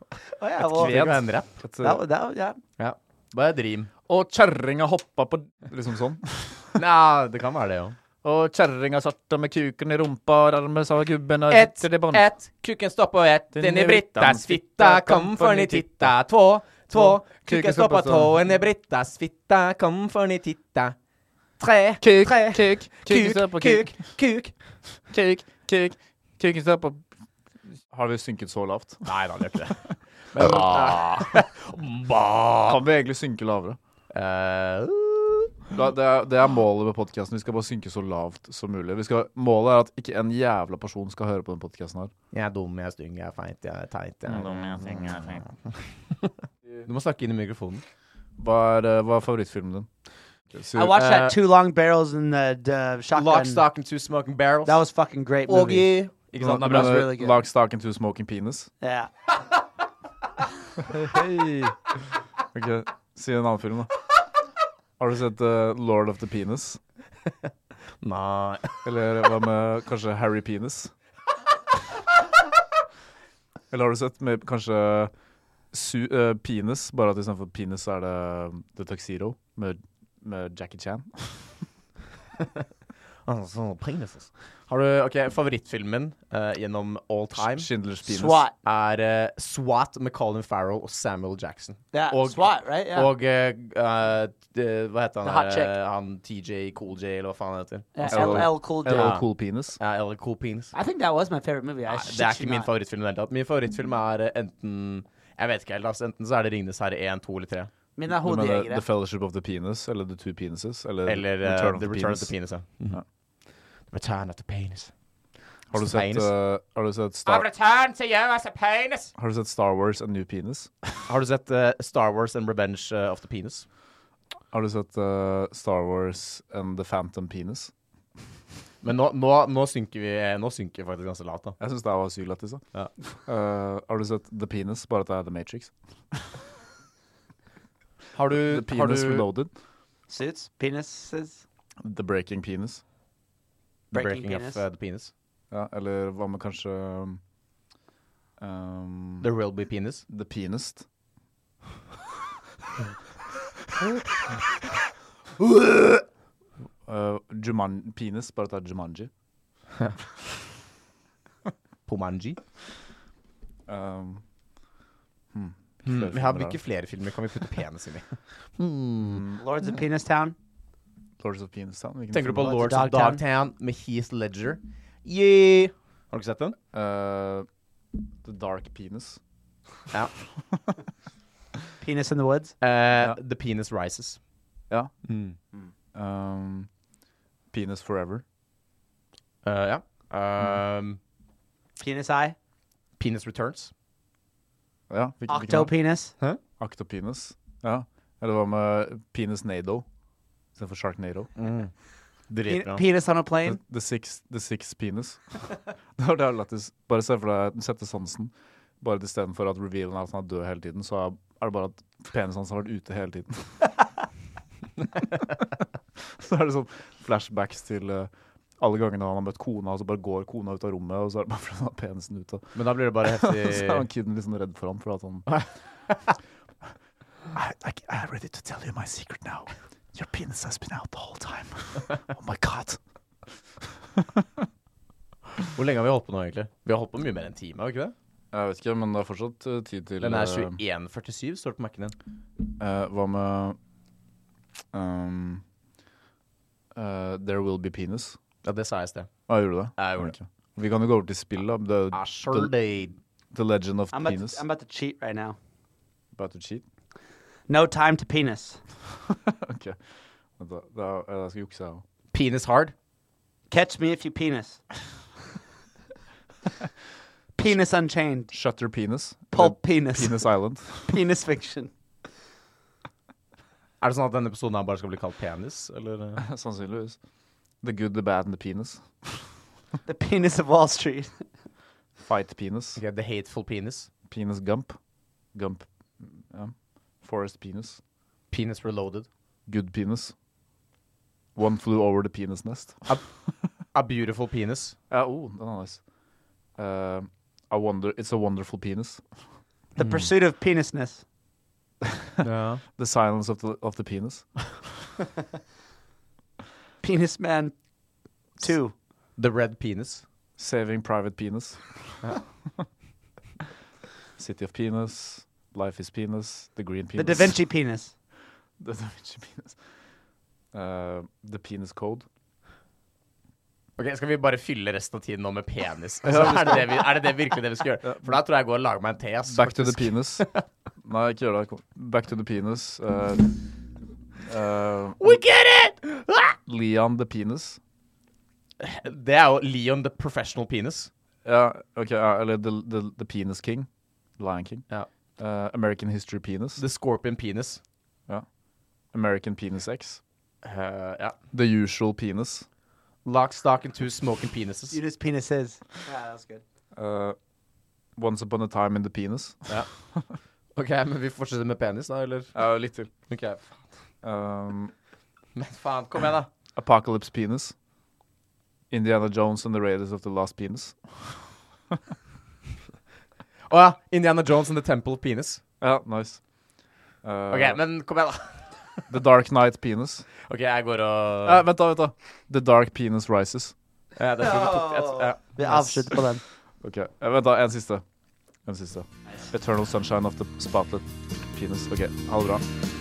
[SPEAKER 2] Å
[SPEAKER 3] Det
[SPEAKER 2] ja, og-
[SPEAKER 3] trenger ikke være en rapp.
[SPEAKER 2] Da- da- ja.
[SPEAKER 3] Ja. Bare et rim.
[SPEAKER 1] Og kjerringa hoppa på Liksom sånn.
[SPEAKER 3] Nei, det kan være det òg.
[SPEAKER 1] Og kjerringa satt med kuken i rumpa, og dermed sa gubben og
[SPEAKER 7] Ett,
[SPEAKER 1] rett i bånd.
[SPEAKER 7] ett, kuken står på ett, den är Brittas fitta, kom för ni titta. Två, två, kuken står på två, den är Brittas fitta, kom för ni titta. Tre,
[SPEAKER 1] Kuk,
[SPEAKER 7] tre,
[SPEAKER 1] kuk, kuken
[SPEAKER 7] kuk,
[SPEAKER 1] står på kuk,
[SPEAKER 7] kuk, kuk.
[SPEAKER 1] kuk, kuk, kuken står på er Har vi synket så lavt?
[SPEAKER 3] Nei da, det gjør ikke det.
[SPEAKER 1] Ah. Kan vi egentlig synke lavere?
[SPEAKER 3] Eh,
[SPEAKER 1] Da, det, er, det er målet med podkasten. Vi skal bare synke så lavt som mulig. Vi skal, målet er at ikke en jævla person skal høre på den podkasten her.
[SPEAKER 3] jeg er dum, jeg er stygg, jeg er feit, jeg er teit. Jeg
[SPEAKER 2] Mm.
[SPEAKER 3] er Du må snakke inn i mikrofonen.
[SPEAKER 1] Hva er, eh, hva er favorittfilmen din?
[SPEAKER 2] I
[SPEAKER 1] Så,
[SPEAKER 2] watched
[SPEAKER 3] Eh,
[SPEAKER 2] that Two Long Barrels and the, the Shotgun.
[SPEAKER 3] Lock, stock and two smoking barrels.
[SPEAKER 2] That was fucking great
[SPEAKER 3] Og
[SPEAKER 2] movie.
[SPEAKER 3] i Ikke sant? Det er
[SPEAKER 1] Men,
[SPEAKER 3] bra.
[SPEAKER 2] was
[SPEAKER 1] eh,
[SPEAKER 2] really good.
[SPEAKER 1] Lock, stock and two smoking penis.
[SPEAKER 2] Yeah.
[SPEAKER 1] Ok, Si en annen film, da. Har du sett eh, Lord of the Penis?
[SPEAKER 3] Nei.
[SPEAKER 1] Eller hva med kanskje Harry Penis? Eller har du sett med kanskje su eh, Penis, bare at istedenfor penis så er det um, The Tuxedo med, med Jackie Chan?
[SPEAKER 3] Altså, penises. Har du OK, favorittfilmen eh, gjennom all time
[SPEAKER 1] Schindlers Penis.
[SPEAKER 2] SWAT.
[SPEAKER 3] er eh, SWAT med Colin Farrell og Samuel Jackson.
[SPEAKER 2] Yeah.
[SPEAKER 3] Og-
[SPEAKER 2] SWAT, right? Yeah.
[SPEAKER 3] Og eh, eh, eh, hva heter
[SPEAKER 2] The
[SPEAKER 3] han
[SPEAKER 2] Hot
[SPEAKER 3] der?
[SPEAKER 2] Chick.
[SPEAKER 3] eh, Han TJ Cool J, eller hva faen han heter?
[SPEAKER 2] yeah. LL Cool J.
[SPEAKER 1] Eller
[SPEAKER 3] Ja.
[SPEAKER 1] Cool Uh, Penis.
[SPEAKER 3] Ja, eller Cool Penis.
[SPEAKER 2] I think that was my favorite movie. I
[SPEAKER 3] Nei,
[SPEAKER 2] shit
[SPEAKER 3] det er
[SPEAKER 2] you
[SPEAKER 3] ikke min
[SPEAKER 2] not.
[SPEAKER 3] favorittfilm i det hele tatt. Min favorittfilm er eh, enten Jeg vet ikke helt, altså. Enten så er det 'Ringenes herre 1', 2 eller 3.
[SPEAKER 2] Min er
[SPEAKER 1] Du mener
[SPEAKER 2] hodejegere.
[SPEAKER 1] The Fellowship of the Penis, eller The Two Penises, eller,
[SPEAKER 3] Eller eh,
[SPEAKER 1] Return, of
[SPEAKER 3] The
[SPEAKER 1] the,
[SPEAKER 3] Return
[SPEAKER 1] Penis.
[SPEAKER 3] of the Penis. ja.
[SPEAKER 1] Ja.
[SPEAKER 3] Return of the Penis.
[SPEAKER 1] Har du sett,
[SPEAKER 3] Penis.
[SPEAKER 1] eh, har du sett
[SPEAKER 7] Av
[SPEAKER 1] Star,
[SPEAKER 7] return to you as a penis.
[SPEAKER 1] har du sett Star Wars and New Penis?
[SPEAKER 3] Har du sett eh, Star Wars and Revenge eh, of the Penis?
[SPEAKER 1] Har du sett eh, Star Wars and The Phantom Penis?
[SPEAKER 3] Men nå, nå, nå synker vi eh, Nå synker vi faktisk ganske lavt, da.
[SPEAKER 1] Jeg syns det var sykt lættis. da.
[SPEAKER 3] Ja.
[SPEAKER 1] Eh, har du sett The Penis, bare at det er The Matrix?
[SPEAKER 3] Har du,
[SPEAKER 1] The Penis
[SPEAKER 3] har du
[SPEAKER 1] Reloaded.
[SPEAKER 2] Suits? Penises?
[SPEAKER 1] The Breaking Penis.
[SPEAKER 3] The
[SPEAKER 2] Breaking
[SPEAKER 3] Breaking
[SPEAKER 2] Penis?
[SPEAKER 3] of eh, the Penis?
[SPEAKER 1] Ja, eller hva med kanskje um,
[SPEAKER 3] The Will Be Penis?
[SPEAKER 1] The Penist? uh, Juman penis, bare at det er Jumanji.
[SPEAKER 3] Pomanji?
[SPEAKER 1] Um, hmm.
[SPEAKER 3] Hmm,
[SPEAKER 1] Flere
[SPEAKER 3] vi har
[SPEAKER 1] filmer
[SPEAKER 3] hvilke
[SPEAKER 1] der.
[SPEAKER 3] flere filmer kan vi putte penis inn i? Hmm.
[SPEAKER 2] Lords of Penis Town?
[SPEAKER 1] Lords of Penistown? hvilken
[SPEAKER 3] Tenker du på
[SPEAKER 1] film?
[SPEAKER 3] Lords of
[SPEAKER 2] Dogtown.
[SPEAKER 3] Dogtown med Heath Ledger? Yeah! Har du ikke sett den?
[SPEAKER 1] Uh, The Dark Penis?
[SPEAKER 2] Penis in the Woods?
[SPEAKER 3] Eh, The Penis Rises.
[SPEAKER 1] Ja.
[SPEAKER 3] Mm.
[SPEAKER 1] Um, penis Forever?
[SPEAKER 3] Eh, ja. Um,
[SPEAKER 2] Penis Eye?
[SPEAKER 3] Penis Returns.
[SPEAKER 1] Ja, hvilken- hvilken er det?
[SPEAKER 2] Octopenis?
[SPEAKER 1] Octopenis. Ja. Eller hva med Penis Nado istedenfor Shark Nado?
[SPEAKER 3] Mm.
[SPEAKER 2] Pe-
[SPEAKER 3] Dritbra.
[SPEAKER 2] Penis on a
[SPEAKER 1] The,
[SPEAKER 2] plane?
[SPEAKER 1] the, six, the six penis. det var det jeg lættis. Bare se for deg den sjette sansen. Bare istedenfor at revealen er at han er død hele tiden, så er er det bare at penisen hans har vært ute hele tiden. så er det sånn flashbacks til eh, alle gangene han har møtt kona, og så bare går kona ut av rommet, og så er det bare fordi han har penisen ute.
[SPEAKER 3] Men da blir det bare
[SPEAKER 1] Så er han
[SPEAKER 3] heftig
[SPEAKER 1] kiden litt sånn redd for ham, for at han I, I, I'm ready to tell you my secret now. Your penis has been out the whole time. Oh my god.
[SPEAKER 3] Hvor lenge har vi holdt på nå, egentlig? Vi har holdt på mye mer enn en time, har vi ikke det?
[SPEAKER 1] Jeg vet ikke, men det er fortsatt eh, tid til
[SPEAKER 3] Den er
[SPEAKER 1] eh,
[SPEAKER 3] 21.47, står det på Mac-en din.
[SPEAKER 1] eh, Hva med ehm, eh, There Will Be Penis?
[SPEAKER 3] Ja, det sa jeg i sted.
[SPEAKER 1] Ja, gjorde du det?
[SPEAKER 3] Jeg gjorde det.
[SPEAKER 1] Ok. Vi kan jo gå over til spill, da. The,
[SPEAKER 3] Ah, Asher Dade.
[SPEAKER 1] the Legend of
[SPEAKER 2] I'm about,
[SPEAKER 1] Penis.
[SPEAKER 2] to, I'm about to cheat right now.
[SPEAKER 1] About to cheat.
[SPEAKER 2] No time to penis.
[SPEAKER 1] Ok. Vent da, da, jeg skal jukse her.
[SPEAKER 3] Penis hard.
[SPEAKER 2] Catch me if you penis. penis Unchained.
[SPEAKER 1] Shutter penis.
[SPEAKER 2] Pulp
[SPEAKER 1] Eller
[SPEAKER 2] penis. Penis,
[SPEAKER 1] Penis Island.
[SPEAKER 2] fiction.
[SPEAKER 3] Er det sånn at denne episoden her bare skal bli kalt penis? Eller? eh?
[SPEAKER 1] Sannsynligvis. The good, the bad and the penis.
[SPEAKER 2] The penis of Wall Street.
[SPEAKER 1] Fight penis.
[SPEAKER 3] Ok, the hateful penis.
[SPEAKER 1] Penis gump. Gump. Ja. Forest penis.
[SPEAKER 3] Penis reloaded.
[SPEAKER 1] Good penis. One flew over the penis nest.
[SPEAKER 3] A beautiful penis.
[SPEAKER 1] Ja, oh, den er nice. Eh, a wonder, it's a wonderful penis.
[SPEAKER 2] The
[SPEAKER 1] Hmm.
[SPEAKER 2] pursuit of penisness.
[SPEAKER 3] Ja.
[SPEAKER 1] The silence of the, of the penis.
[SPEAKER 2] Penis Man 2.
[SPEAKER 3] The red penis.
[SPEAKER 1] Saving private penis. City of penis. Life is penis. The green
[SPEAKER 2] The
[SPEAKER 1] penis.
[SPEAKER 2] Da Vinci penis.
[SPEAKER 1] The Da Vinci penis. Eh, the penis code.
[SPEAKER 3] Ok, Skal vi bare fylle resten av tiden nå med penis? Altså, er, det det vi, er det det virkelig det vi skal gjøre? For da tror jeg jeg går og lager meg en te. ass,
[SPEAKER 1] Back to the
[SPEAKER 3] faktisk.
[SPEAKER 1] penis. Nei, ikke gjør det. Kom. Back to the penis. eh, eh,
[SPEAKER 3] We get it! Ah!
[SPEAKER 1] Leon the penis.
[SPEAKER 3] Det er jo Leon the professional penis.
[SPEAKER 1] Ja, ok, ja, eller uh, the, the, the Penis King. Lion King.
[SPEAKER 3] Ja.
[SPEAKER 1] Eh, American History Penis.
[SPEAKER 3] The scorpion penis.
[SPEAKER 1] American Penis X.
[SPEAKER 3] Eh, ja.
[SPEAKER 1] The Usual Penis.
[SPEAKER 3] Lock, stock and two smoking penises.
[SPEAKER 2] You just penises. Yeah, that's good.
[SPEAKER 1] Eh, Once Upon a Time in the Penis.
[SPEAKER 3] Ok, men vi fortsetter med penis, da, eller?
[SPEAKER 1] Ja, litt til.
[SPEAKER 3] Ok,
[SPEAKER 1] Um,
[SPEAKER 3] Men faen, kom igjen, da.
[SPEAKER 1] Apocalypse Penis. Indiana Jones and the Raiders of the Lost Penis.
[SPEAKER 3] Å ja. Indiana Jones and the Temple of Penis.
[SPEAKER 1] Ja, Ah, nice. Eh,
[SPEAKER 3] Ok, men kom igjen, da.
[SPEAKER 1] The Dark Knight Penis.
[SPEAKER 3] Ok, jeg går og
[SPEAKER 1] Eh, vent da, vent da. The Dark Penis Rises.
[SPEAKER 3] Uh. Ja, det tror jeg vi tok. Jeg tror- ja.
[SPEAKER 2] Vi avslutter på den.
[SPEAKER 1] Ok, eh, vent da, en siste. En siste. Eternal Sunshine of the Spotlet Penis. Ok, ha det bra.